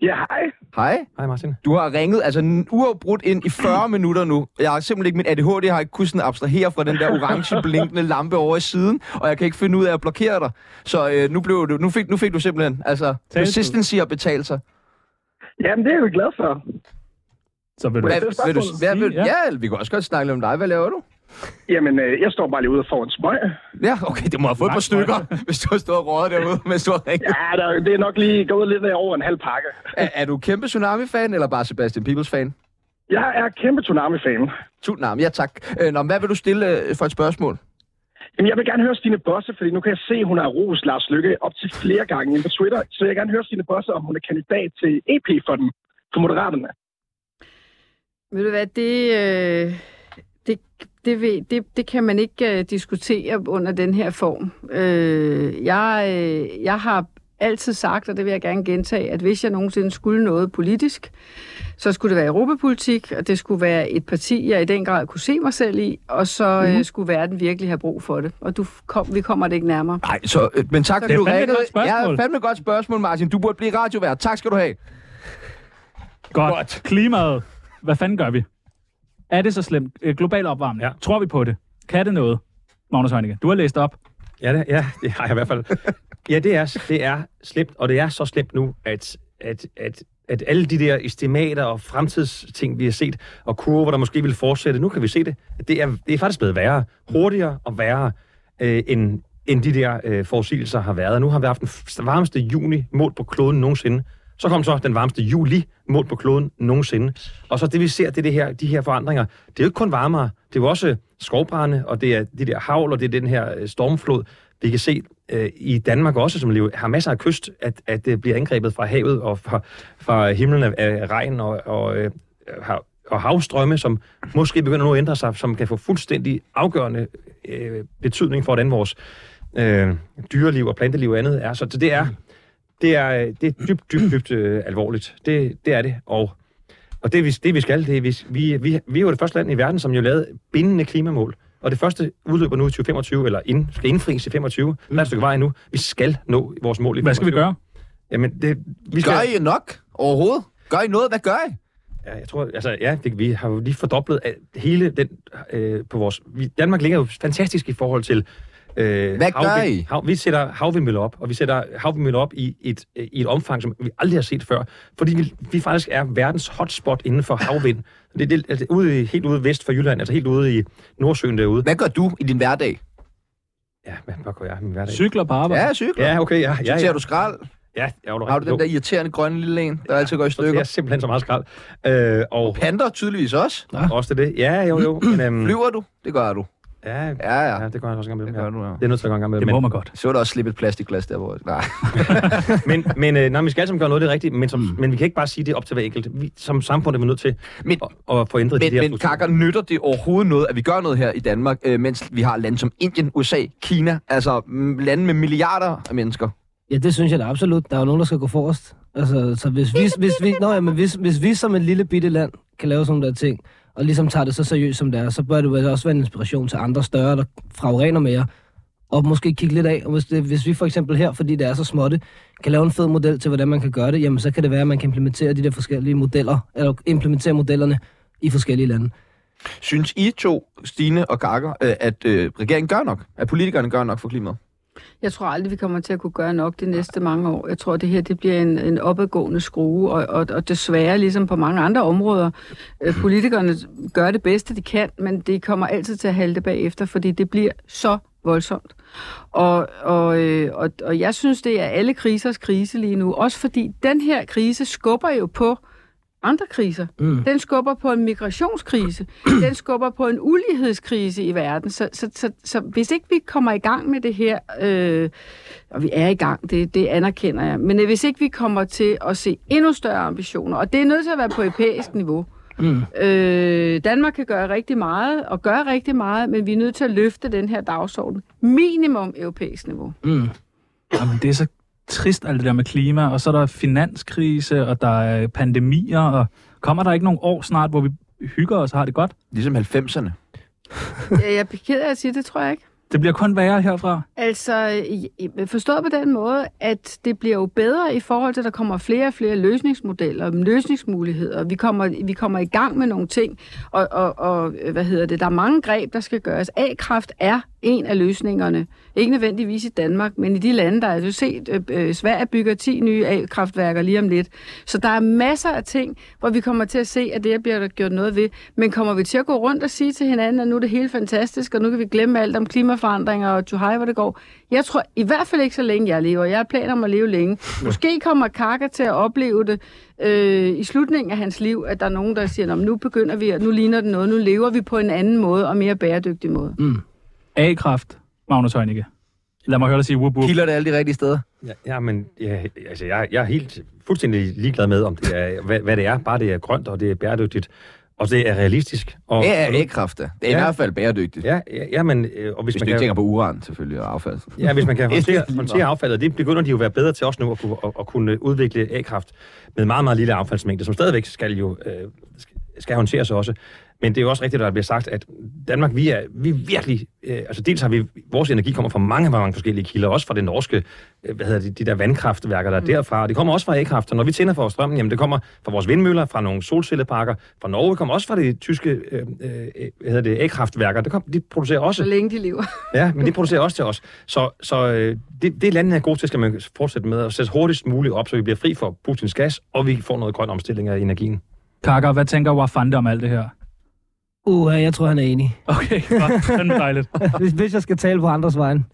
I: Ja, hej.
A: Hej.
D: Hej Martin.
A: Du har ringet altså n- uafbrudt ind i
I: (clears throat)
A: 40 minutter nu. Jeg har simpelthen ikke min ADHD, jeg har ikke kunnet sådan abstrahere fra den der orange blinkende lampe over i siden, og jeg kan ikke finde ud af at blokere dig. Så øh, nu, blev du, nu, fik, nu fik du simpelthen, altså,
B: Taletid.
A: persistency har betalt sig.
I: Jamen, det er jeg jo glad for.
B: Så vil du...
I: Hvad-
A: vil du, hvad, vil,
B: Ja.
A: ja, vi kan også godt snakke lidt om dig. Hvad laver du?
I: Jamen, øh, jeg står bare lige ude og får en smøg.
A: Ja, okay, det må have fået et par
B: Langt
A: stykker, hvis du har stået og røget derude, (laughs) mens du har ringet.
I: Ja, der, det er nok lige gået lidt ned over en halv pakke.
A: Er, er du kæmpe Tsunami-fan, eller bare Sebastian Peebles-fan?
I: Jeg er kæmpe tsunami-fan.
A: Tsunami, ja tak. Øh, nå, men hvad vil du stille øh, for et spørgsmål?
I: Jamen, jeg vil gerne høre Stine Bosse, fordi nu kan jeg se, at hun har rost Lars Lykke op til flere gange inde på Twitter. Så jeg vil gerne høre Stine Bosse, om hun er kandidat til EP-fonden for Moderaterne.
C: Ved du hvad, det, øh, det, det, ved, det, det kan man ikke øh, diskutere under den her form. Øh, jeg, øh, jeg har altid sagt, og det vil jeg gerne gentage, at hvis jeg nogensinde skulle noget politisk, så skulle det være europapolitik, og det skulle være et parti, jeg i den grad kunne se mig selv i, og så mm-hmm. øh, skulle verden virkelig have brug for det. Og du kom, vi kommer det ikke nærmere.
A: Nej, så, øh, men tak, fordi
B: er
A: du
B: fandme
A: ringede.
B: et godt spørgsmål.
A: Ja, fandme et godt spørgsmål, Martin. Du burde blive radiovært. Tak skal du have.
B: Godt.
A: Godt.
B: Klimaet. Hvad fanden gør vi? Er det så slemt? Øh, global opvarmning.
D: Ja.
B: Ja. Tror vi på det? Kan det noget? Magnus Heunicke, du har læst op.
D: Ja, det, ja, det har jeg i hvert fald. Ja, det er, det er slemt, og det er så slemt nu, at, at, at, at alle de der estimater og fremtidsting, vi har set, og kurver, der måske vil fortsætte, nu kan vi se det. Det er, det er faktisk blevet værre, hurtigere og værre, øh, end, end de der øh, forudsigelser har været. Nu har vi haft den f- varmeste juni målt på kloden nogensinde. Så kom så den varmeste juli målt på kloden nogensinde. Og så det, vi ser, det er det her, de her forandringer. Det er jo ikke kun varmere, det er jo også skovbrænde, og det er de der havl, og det er den her øh, stormflod. Vi kan se øh, i Danmark også, som lever, har masser af kyst, at, at det bliver angrebet fra havet og fra, fra himlen af, af regn og, og, øh, hav, og havstrømme, som måske begynder nu at ændre sig, som kan få fuldstændig afgørende øh, betydning for, hvordan vores øh, dyreliv og planteliv og andet er. Så det er, det er, øh, det er dybt, dybt, dybt øh, alvorligt. Det, det er det. Og, og det, vi, det vi skal, det er, vi, vi, vi, vi er jo det første land i verden, som jo lavede bindende klimamål. Og det første udløber nu i 2025, eller ind, skal indfries i 25. Der er et stykke vej nu. Vi skal nå vores mål i
B: Hvad skal vi
D: 25.
B: gøre?
D: Jamen, det, vi skal...
A: Gør I nok overhovedet? Gør I noget? Hvad gør I?
D: Ja, jeg tror, altså, ja, det, vi har jo lige fordoblet alt- hele den øh, på vores... Vi, Danmark ligger jo fantastisk i forhold til... Øh,
A: Hvad gør
D: havvind-
A: I?
D: øh, altså,
A: Hvad gør du i din hverdag?
D: Ja, hvad, hvad gør jeg i min hverdag?
B: Cykler på arbejde?
A: Ja,
B: Ja.
A: jeg cykler. Ja,
D: Ja, okay, ja.
A: ja,
D: ja, ja.
A: du skrald?
D: ja, ja
A: Har du den der irriterende grønne lille en, der altid går i
D: Det er
A: stykker?
D: simpelthen så meget skrald. Øh, og
A: Panter tydeligvis også.
D: også det. Ja, jo, jo. Men, øhm,
A: Flyver du? Det gør du.
D: Ja, ja,
A: Ja, ja.
D: det gør jeg også en gang
A: Det
D: imellem.
A: gør
D: Ja.
A: du, ja.
D: Det er nødt til at gøre en gang imellem.
B: Det må man godt.
A: Så er der også slippe et plastikglas der, hvor... Nej.
D: men, men øh, nej, vi skal alle sammen gøre noget, det er rigtigt, men, som, mm. men vi kan ikke bare sige det er op til hver enkelt. Vi, som samfund er vi nødt til
A: Men-
D: at, at få ændret de her...
A: Men, men
D: strukturer.
A: kakker, nytter det overhovedet noget, at vi gør noget her i Danmark, øh, mens vi har lande som Indien, USA, Kina, altså mm, lande med milliarder af mennesker?
E: Ja, det synes jeg da absolut. Der er jo nogen, der skal gå forrest. Altså, så hvis vi, hvis vi, nå, ja, men hvis, hvis vi som et lille bitte land kan lave sådan nogle der ting, og ligesom tager det så seriøst som det er, så bør det vel også være en inspiration til andre større, der fragrener mere, og måske kigge lidt af. Og hvis, det, hvis vi for eksempel her, fordi det er så småtte, kan lave en fed model til, hvordan man kan gøre det, jamen så kan det være, at man kan implementere de der forskellige modeller, eller implementere modellerne i forskellige lande.
A: Synes I to, Stine og Kakker, øh, at øh, regeringen gør nok? At politikerne gør nok for klimaet?
C: Jeg tror aldrig, vi kommer til at kunne gøre nok de næste mange år. Jeg tror, det her det bliver en, en opadgående skrue, og, og, og desværre, ligesom på mange andre områder, øh, politikerne gør det bedste, de kan, men det kommer altid til at halte bagefter, fordi det bliver så voldsomt. Og, og, øh, og, og jeg synes, det er alle krisers krise lige nu, også fordi den her krise skubber jo på andre kriser. Mm. Den skubber på en (clears throat) migrationskrise. den skubber på en ulighedskrise i verden. Så, så, så, så hvis ikke vi kommer i gang med det her, øh, og vi er i gang, det, det anerkender jeg, men øh, hvis ikke vi kommer til at se endnu større ambitioner, og det er nødt til at være på europæisk niveau. Mm. Øh, Danmark kan gøre rigtig meget, og gøre rigtig meget, men vi er nødt til at løfte den her dagsorden. Minimum europæisk (laughs) niveau.
E: Mm.
B: Jamen, det er så trist, alt det der med klima, og så er der finanskrise, og der er pandemier, og kommer der ikke nogle år snart, hvor vi hygger os og har det godt?
A: Ligesom 90'erne.
C: Jeg jeg er ked af at sige det, tror jeg ikke.
B: Det bliver kun værre herfra.
C: Altså, i- forstået på den måde, at det bliver jo bedre i forhold til, at der kommer flere og flere løsningsmodeller, løsningsmuligheder. Vi kommer, vi kommer i gang med nogle ting, og, og, og øh, hvad hedder det, der er mange greb, der skal gøres. A-kraft er en af løsningerne. Ikke nødvendigvis i Danmark, men i de lande, der er jo set, øh, øh, Sverige bygger 10 nye A-kraftværker lige om lidt. Så der er masser af ting, hvor vi kommer til at se, at det her bliver der gjort noget ved. Men kommer vi til at gå rundt og sige til hinanden, at nu er det hele fantastisk, og nu kan vi glemme alt om klimaforandringer og Juhai, hvor det går? Jeg tror i hvert fald ikke så længe, jeg lever. Jeg har planer om at leve længe. Måske kommer Kaka til at opleve det øh, i slutningen af hans liv, at der er nogen, der siger, "Nå, men nu begynder vi, og nu ligner det noget, nu lever vi på en anden måde og mere bæredygtig måde.
B: A-kraft, Magnus Heunicke. Lad mig høre dig sige whoop whoop.
A: Kilder det alle de rigtige steder?
D: Ja, ja men ja, altså, jeg, jeg er helt fuldstændig ligeglad med, om det er, hvad, hvad det er. Bare det er grønt, og det er bæredygtigt, og det er realistisk. Og,
A: Ja, ægkræft. Det er i
D: Ja.
A: hvert fald bæredygtigt.
D: ja, ja, ja, men, øh, og hvis,
A: Hvis
D: man
A: du ikke
D: kan,
A: tænker på uran, selvfølgelig, og affald.
D: Ja, hvis man
A: (laughs)
D: kan
A: Det er
D: håndtere,
A: lige meget.
D: håndtere affaldet, det begynder de jo at være bedre til også nu at kunne, at, at kunne udvikle A-kraft med meget, meget lille affaldsmængde, som stadigvæk skal jo øh, skal håndteres også. Men det er jo også rigtigt, at der bliver sagt, at Danmark, vi er, vi er virkelig... Øh, altså dels har vi... Vores energi kommer fra mange, mange forskellige kilder, også fra det norske, øh, hvad hedder det, de der vandkraftværker, der
A: Mm.
D: er derfra. Og det kommer også fra A-kraft, og når vi tænder for strømmen, jamen det kommer fra vores vindmøller, fra nogle solcelleparker, fra Norge kommer også fra de tyske øh, øh, hvad hedder det, A-kraftværker. Det kom, de producerer også
C: Så længe de lever.
D: Ja, men det producerer også til os. Så, så øh, det, det landene er gode til, skal man fortsætte med at sætte hurtigst muligt op, så vi bliver fri for Putins gas, og vi får noget grøn omstilling af energien.
B: Kaka, hvad tænker Wafande om alt det her?
E: Uh, jeg tror, han er enig.
B: Okay, godt. Den er dejligt.
E: hvis, (laughs) hvis jeg skal tale på andres vegne.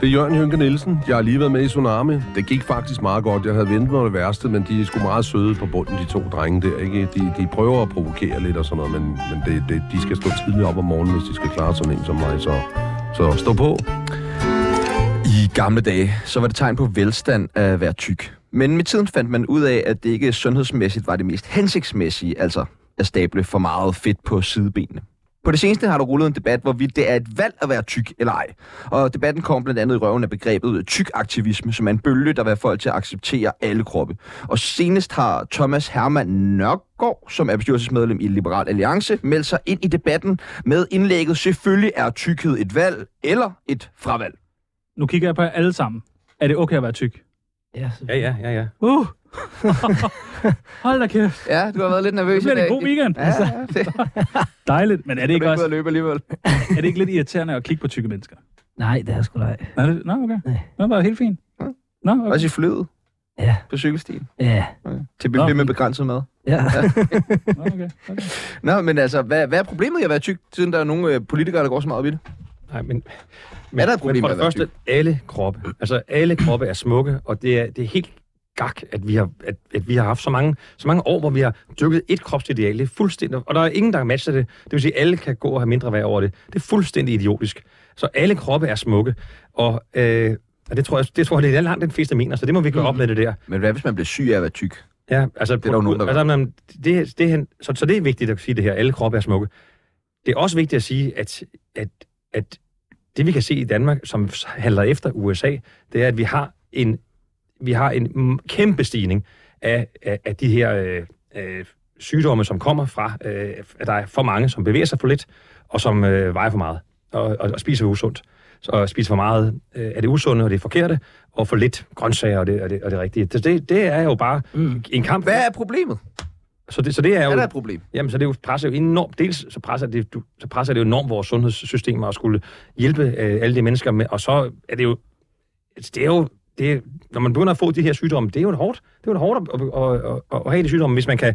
J: Det er Jørgen Hynke Nielsen. Jeg har lige været med i Tsunami. Det gik faktisk meget godt. Jeg havde ventet mig det værste, men de er sgu meget søde på bunden, de to drenge der. Ikke? De, de prøver at provokere lidt og sådan noget, men, men det, det, de skal stå tidligt op om morgenen, hvis de skal klare sådan en som mig. Så, så stå på.
A: I gamle dage, så var det tegn på velstand at være tyk. Men med tiden fandt man ud af, at det ikke sundhedsmæssigt var det mest hensigtsmæssige, altså at stable for meget fedt på sidebenene. På det seneste har der rullet en debat, hvorvidt det er et valg at være tyk eller ej. Og debatten kom blandt andet i røven af begrebet tykaktivisme, som er en bølge, der vil have folk til at acceptere alle kroppe. Og senest har Thomas Hermann Nørgaard, som er bestyrelsesmedlem i Liberal Alliance, meldt sig ind i debatten med indlægget Selvfølgelig er tykkhed et valg eller et fravalg.
B: Nu kigger jeg på jer alle sammen. Er det okay at være tyk?
E: Ja,
D: Ja, ja, ja, ja.
B: Uh! (laughs) Hold da kæft.
A: Ja, du har været lidt nervøs
B: Det bliver
A: i dag.
B: en god weekend. Altså,
A: Ja, ja, det er
B: Dejligt. Men er
A: ikke
B: det, ikke
A: ud
B: også,
A: at løbe alligevel.
B: er det ikke lidt irriterende at kigge på tykke mennesker?
E: Nej, det er sgu da ej.
B: Er det, nå, okay.
E: Nej.
B: Nå, det var helt fint. Nå, okay.
A: Også i flyet.
E: Ja.
A: På cykelstien.
E: Ja.
A: Til
B: Nå.
A: buffet med begrænset mad.
E: ja.
B: Nå, okay. okay.
A: Nå, men altså, hvad, hvad er problemet i at være tyk, siden der er nogle øh, politikere, der går så meget op i det?
D: Nej, men,
A: Er der et problem
D: men for
A: med
D: det
A: at være
D: første, alle kroppe. Altså, alle kroppe er smukke, og det er, det er helt gak, at vi har, at, at vi har haft så mange, så mange år, hvor vi har dyrket et kropsideal. Det er fuldstændig, og der er ingen, der matcher det. Det vil sige, at alle kan gå og have mindre værd over det. Det er fuldstændig idiotisk. Så alle kroppe er smukke, og, øh, og det tror jeg, det tror jeg, det er langt den fleste mener, så det må vi
A: Mm.
D: gøre op med det der.
A: Men hvad hvis man bliver syg af at være tyk?
D: Ja, altså, det
A: der jo nogen, der
D: altså, man, det, det, er hen- så, så det er vigtigt at sige det her. Alle kroppe er smukke. Det er også vigtigt at sige, at, at, at det vi kan se i Danmark, som handler efter USA, det er, at vi har en, vi har en mm, kæmpe stigning af, af, af de her øh, øh, sygdomme, som kommer fra, øh, at der er for mange, som bevæger sig for lidt, og som øh, vejer for meget, og, og, og spiser usundt. Så at spise for meget øh, er det usunde, og det er forkerte, og for lidt grønsager, og det, og det, og det rigtige. Det, det, det er jo bare mm. en kamp.
A: Hvad er problemet?
D: Så det, så det er jo...
A: Er der et problem?
D: Jamen, så det er jo, presser jo enormt... Dels så presser det, du, så presser det jo enormt vores sundhedssystemer at skulle hjælpe øh, alle de mennesker med, og så er det jo... altså, Det er jo det, er- når man begynder at få de her sygdomme, det er jo en hårdt, det er jo en hårdt at, at, at, at, at, have de sygdomme, hvis man kan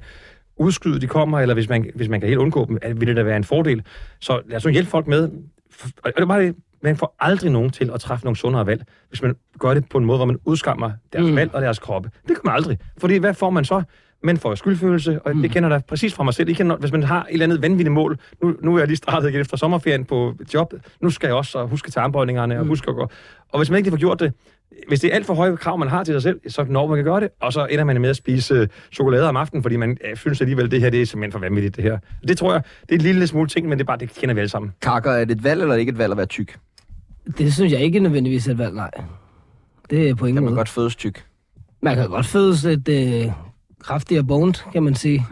D: udskyde, de kommer, eller hvis man, hvis man kan helt undgå dem, at- vil det da være en fordel. Så lad os nu hjælpe folk med. F- Og det er bare det, man får aldrig nogen til at træffe nogle sundere valg, hvis man gør det på en måde, hvor man udskammer deres mm. valg og deres kroppe. Det kan man aldrig. Fordi hvad får man så? Man får skyldfølelse, og mm. det kender jeg da præcis fra mig selv. Jeg kender, hvis man har et eller andet vanvittigt mål, nu, nu er jeg lige startet igen efter sommerferien på et job, nu skal jeg også og huske tarmbøjningerne og huske at gå. Og hvis man ikke lige får gjort det, hvis det er alt for høje krav, man har til sig selv, så når man kan gøre det, og så ender man med at spise øh, chokolade om aftenen, fordi man øh, synes alligevel, det her det er simpelthen for vanvittigt, det her. Det tror jeg, det er en lille smule ting, men det er bare, det kender vi alle sammen.
A: Kakker, er det et valg eller ikke et valg at være tyk?
E: Det synes jeg ikke nødvendigvis er et valg, nej. Det er på ingen
A: Kan
E: måde.
A: man godt fødes tyk?
E: Man kan godt fødes lidt øh, kraftigere boned, kan man
A: (laughs)
E: sige.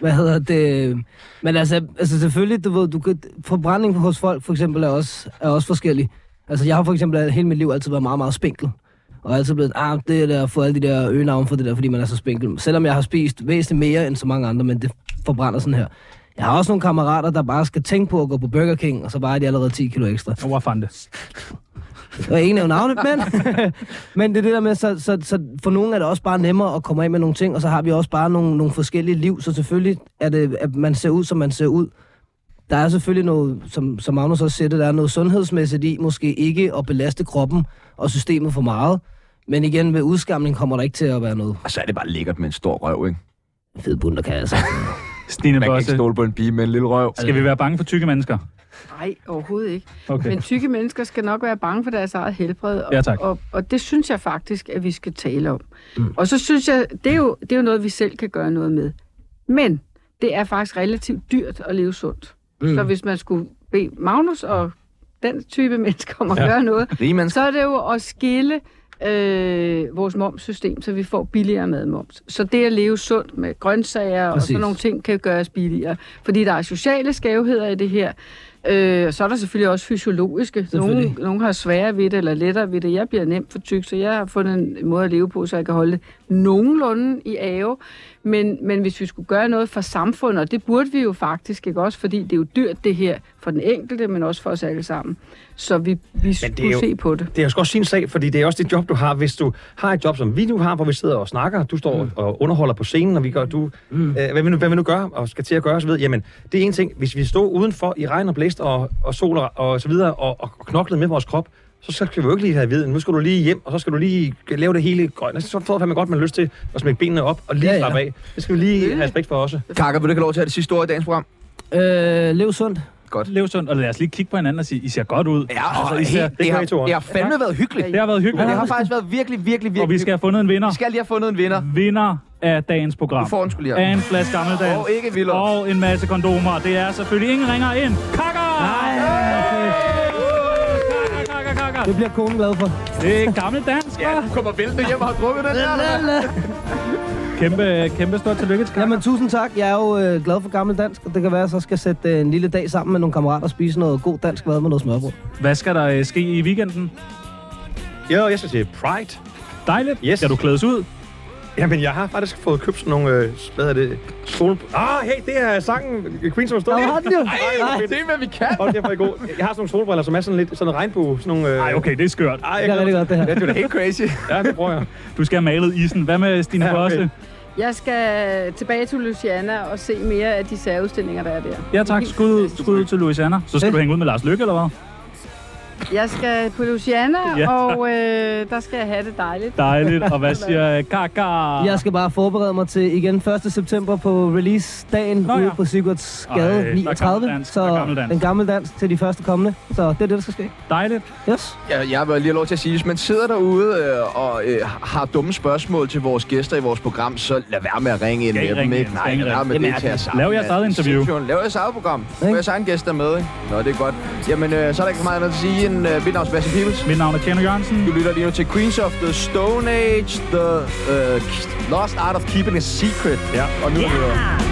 E: Hvad hedder det? Men altså, altså selvfølgelig, du ved, du kan, forbrænding hos folk for eksempel er også, er også forskellig. Altså jeg har for eksempel hele mit liv altid været meget, meget spinkel. Og er altid blevet, ah, det der, få alle de der øgenavn for det der, fordi man er så spinkel. Selvom jeg har spist væsentligt mere end så mange andre, men det forbrænder sådan her. Jeg har også nogle kammerater, der bare skal tænke på at gå på Burger King, og så vejer de allerede 10 kilo ekstra.
B: Hvor fandt det?
E: Jeg vil ikke nævne navnet, men, (laughs) men det er det der med, så, så, så for nogle er det også bare nemmere at komme af med nogle ting, og så har vi også bare nogle, nogle forskellige liv, så selvfølgelig er det, at man ser ud, som man ser ud. Der er selvfølgelig noget, som, som Magnus også siger, det, der er noget sundhedsmæssigt i, måske ikke at belaste kroppen og systemet for meget, men igen, ved udskamning kommer der ikke til at være noget
A: Og så er det bare lækkert med en stor røv, ikke?
E: fed bund, der kan altså.
B: Stine
A: Man kan ikke
B: Bosse,
A: stole på en pige med en lille røv.
B: skal vi være bange for tykke mennesker?
C: Nej, overhovedet ikke.
B: Okay.
C: Men tykke mennesker skal nok være bange for deres eget helbred, og,
B: Ja, tak.
C: og, og det synes jeg faktisk, at vi skal tale om. Mm. Og så synes jeg, det er, jo, det er jo noget, vi selv kan gøre noget med. Men det er faktisk relativt dyrt at leve sundt. Mm. Så hvis man skulle bede Magnus og den type mennesker om at ja. gøre noget,
A: Rige mennesker.
C: så er det jo at skille øh, vores momssystem, så vi får billigere madmoms. Så det at leve sundt med grøntsager Præcis. og
E: Præcis.
C: sådan nogle ting kan gøres billigere. Fordi der er sociale skævheder i det her. Øh, og så er der selvfølgelig også fysiologiske. Nogle,
E: Selvfølgelig.
C: nogle har sværere ved det, eller lettere ved det. Jeg bliver nemt for tyk, så jeg har fundet en måde at leve på, så jeg kan holde det nogenlunde i ave. Men, men hvis vi skulle gøre noget for samfundet, og det burde vi jo faktisk, ikke også? Fordi det er jo dyrt det her for den enkelte, men også for os alle sammen. Så vi, vi skulle
D: jo-
C: jo... se på det.
D: Det er jo sgu også sin sag, fordi det er også det job, du har. Hvis du har et job, som vi nu har, hvor vi sidder og snakker, du står mm. og underholder på scenen, og vi gør, du, mm. øh, hvad, vil du, hvad vil du gøre og skal til at gøre, så ved, jamen, det er en ting. Hvis vi står udenfor i regn og blæst og, og sol og, og så videre, og, og knoklede med vores krop, så skal vi jo ikke lige have viden. Nu skal du lige hjem, og så skal du lige lave det hele grønt. Altså, Så får man godt, man har lyst til at smække benene op og lige
E: Ja,
D: ja,
E: ja.
D: slappe af. Det skal vi lige have respekt for også.
A: Kakker, vil du ikke have lov til at have det sidste ord i dagens program?
E: (laughs) Øh, lev sundt.
B: Lev sundt, og lad os lige kigge på hinanden og sige, I ser godt ud.
A: Ja, og
B: Altså, I ser,
A: helt, det,
D: gør
A: har,
D: I to også.
A: det har fandme været hyggeligt.
B: det har været hyggeligt,
A: Men det har faktisk været virkelig, virkelig, virkelig...
B: og vi skal Mm. have fundet en vinder.
A: vi skal lige have fundet en vinder.
B: Vinder af dagens program.
A: Du får den skulle lige
B: Af
A: have.
B: en flaske gammeldags.
A: Og ikke vildere.
B: Og en masse kondomer. Det er selvfølgelig ingen ringer ind. Kakker! Nej, kakker, kakker, kakker.
E: Det bliver konen glad for.
B: Det er gammel dansk, ja.
A: Du kommer væltende hjem og har drukket den der.
B: Kæmpe, kæmpe stort tillykke til Kakker.
E: Jamen, tusind tak. Jeg er jo øh, glad for gammel dansk, og det kan være, at jeg så skal sætte øh, en lille dag sammen med nogle kammerater og spise noget god dansk mad med noget smørbrød.
B: Hvad skal der øh, ske i weekenden?
D: Jo, jeg skal til Pride.
B: Dejligt.
D: Yes.
B: Skal du klædes ud?
D: Jamen, jeg har faktisk fået købt sådan nogle, øh, hvad er det, sol... Ah, hey, det er sangen øh, Queen, som har stået.
E: Der var den jo.
D: Ej, det er, hvad vi kan. Hold kæft, hvor er I god. Jeg har sådan nogle solbriller, som er sådan lidt sådan en regnbue. Sådan nogle... Øh...
B: Nej, okay, det er skørt.
D: Ej,
E: Det er
D: jeg
E: rigtig godt, det her.
A: Ja, det er da helt crazy.
D: Ja, det prøver jeg.
B: Du skal have malet isen. Hvad med Stine
D: Ja, okay.
B: Bosse?
C: Jeg skal tilbage til Louisiana og se mere af de særudstillinger, der er der.
B: Ja tak, skud, ud- skud ud til Louisiana. Så skal
E: Ja.
B: du hænge ud med Lars Lykke, eller hvad?
C: Jeg skal på Louisiana,
B: Ja,
C: ja, og øh, der skal jeg have det dejligt.
B: Dejligt. Og hvad siger Kaka?
E: Jeg skal bare forberede mig til igen 1. september på release-dagen
B: Nå ja.
E: ude på Sigurds
B: Ej, der
E: Gade
B: er
E: 39.
B: gammeldansk, der er
E: så
B: gammeldansk.
E: en gammel dans til de første kommende. Så det er det, der skal ske.
B: Dejligt.
E: Yes.
A: Jeg, jeg vil lige have lov til at sige, hvis man sidder derude øh, og øh, har dumme spørgsmål til vores gæster i vores program, så lad være med at ringe ind
B: Skal
A: med
B: ikke
A: dem,
B: ringe
A: ikke?
B: ind, skal
A: Nej,
B: ikke
A: lad være
B: ringe
A: med
B: ind.
A: det til jeres
B: Lav jeres eget interview.
A: Lav jeres eget program. Få
E: Ikke?
A: jeres egen gæster med, ikke? Nå, det er godt. Jamen, øh, så er der ikke så meget andet at sige end øh, mit navn er Sebastian Pibels.
B: Mit navn er Tjerno Jørgensen.
A: Du lytter lige nu til Queens of the øh, Stone Age, The uh, Lost Art of Keeping a Secret. Ja. Og nu yeah. lytter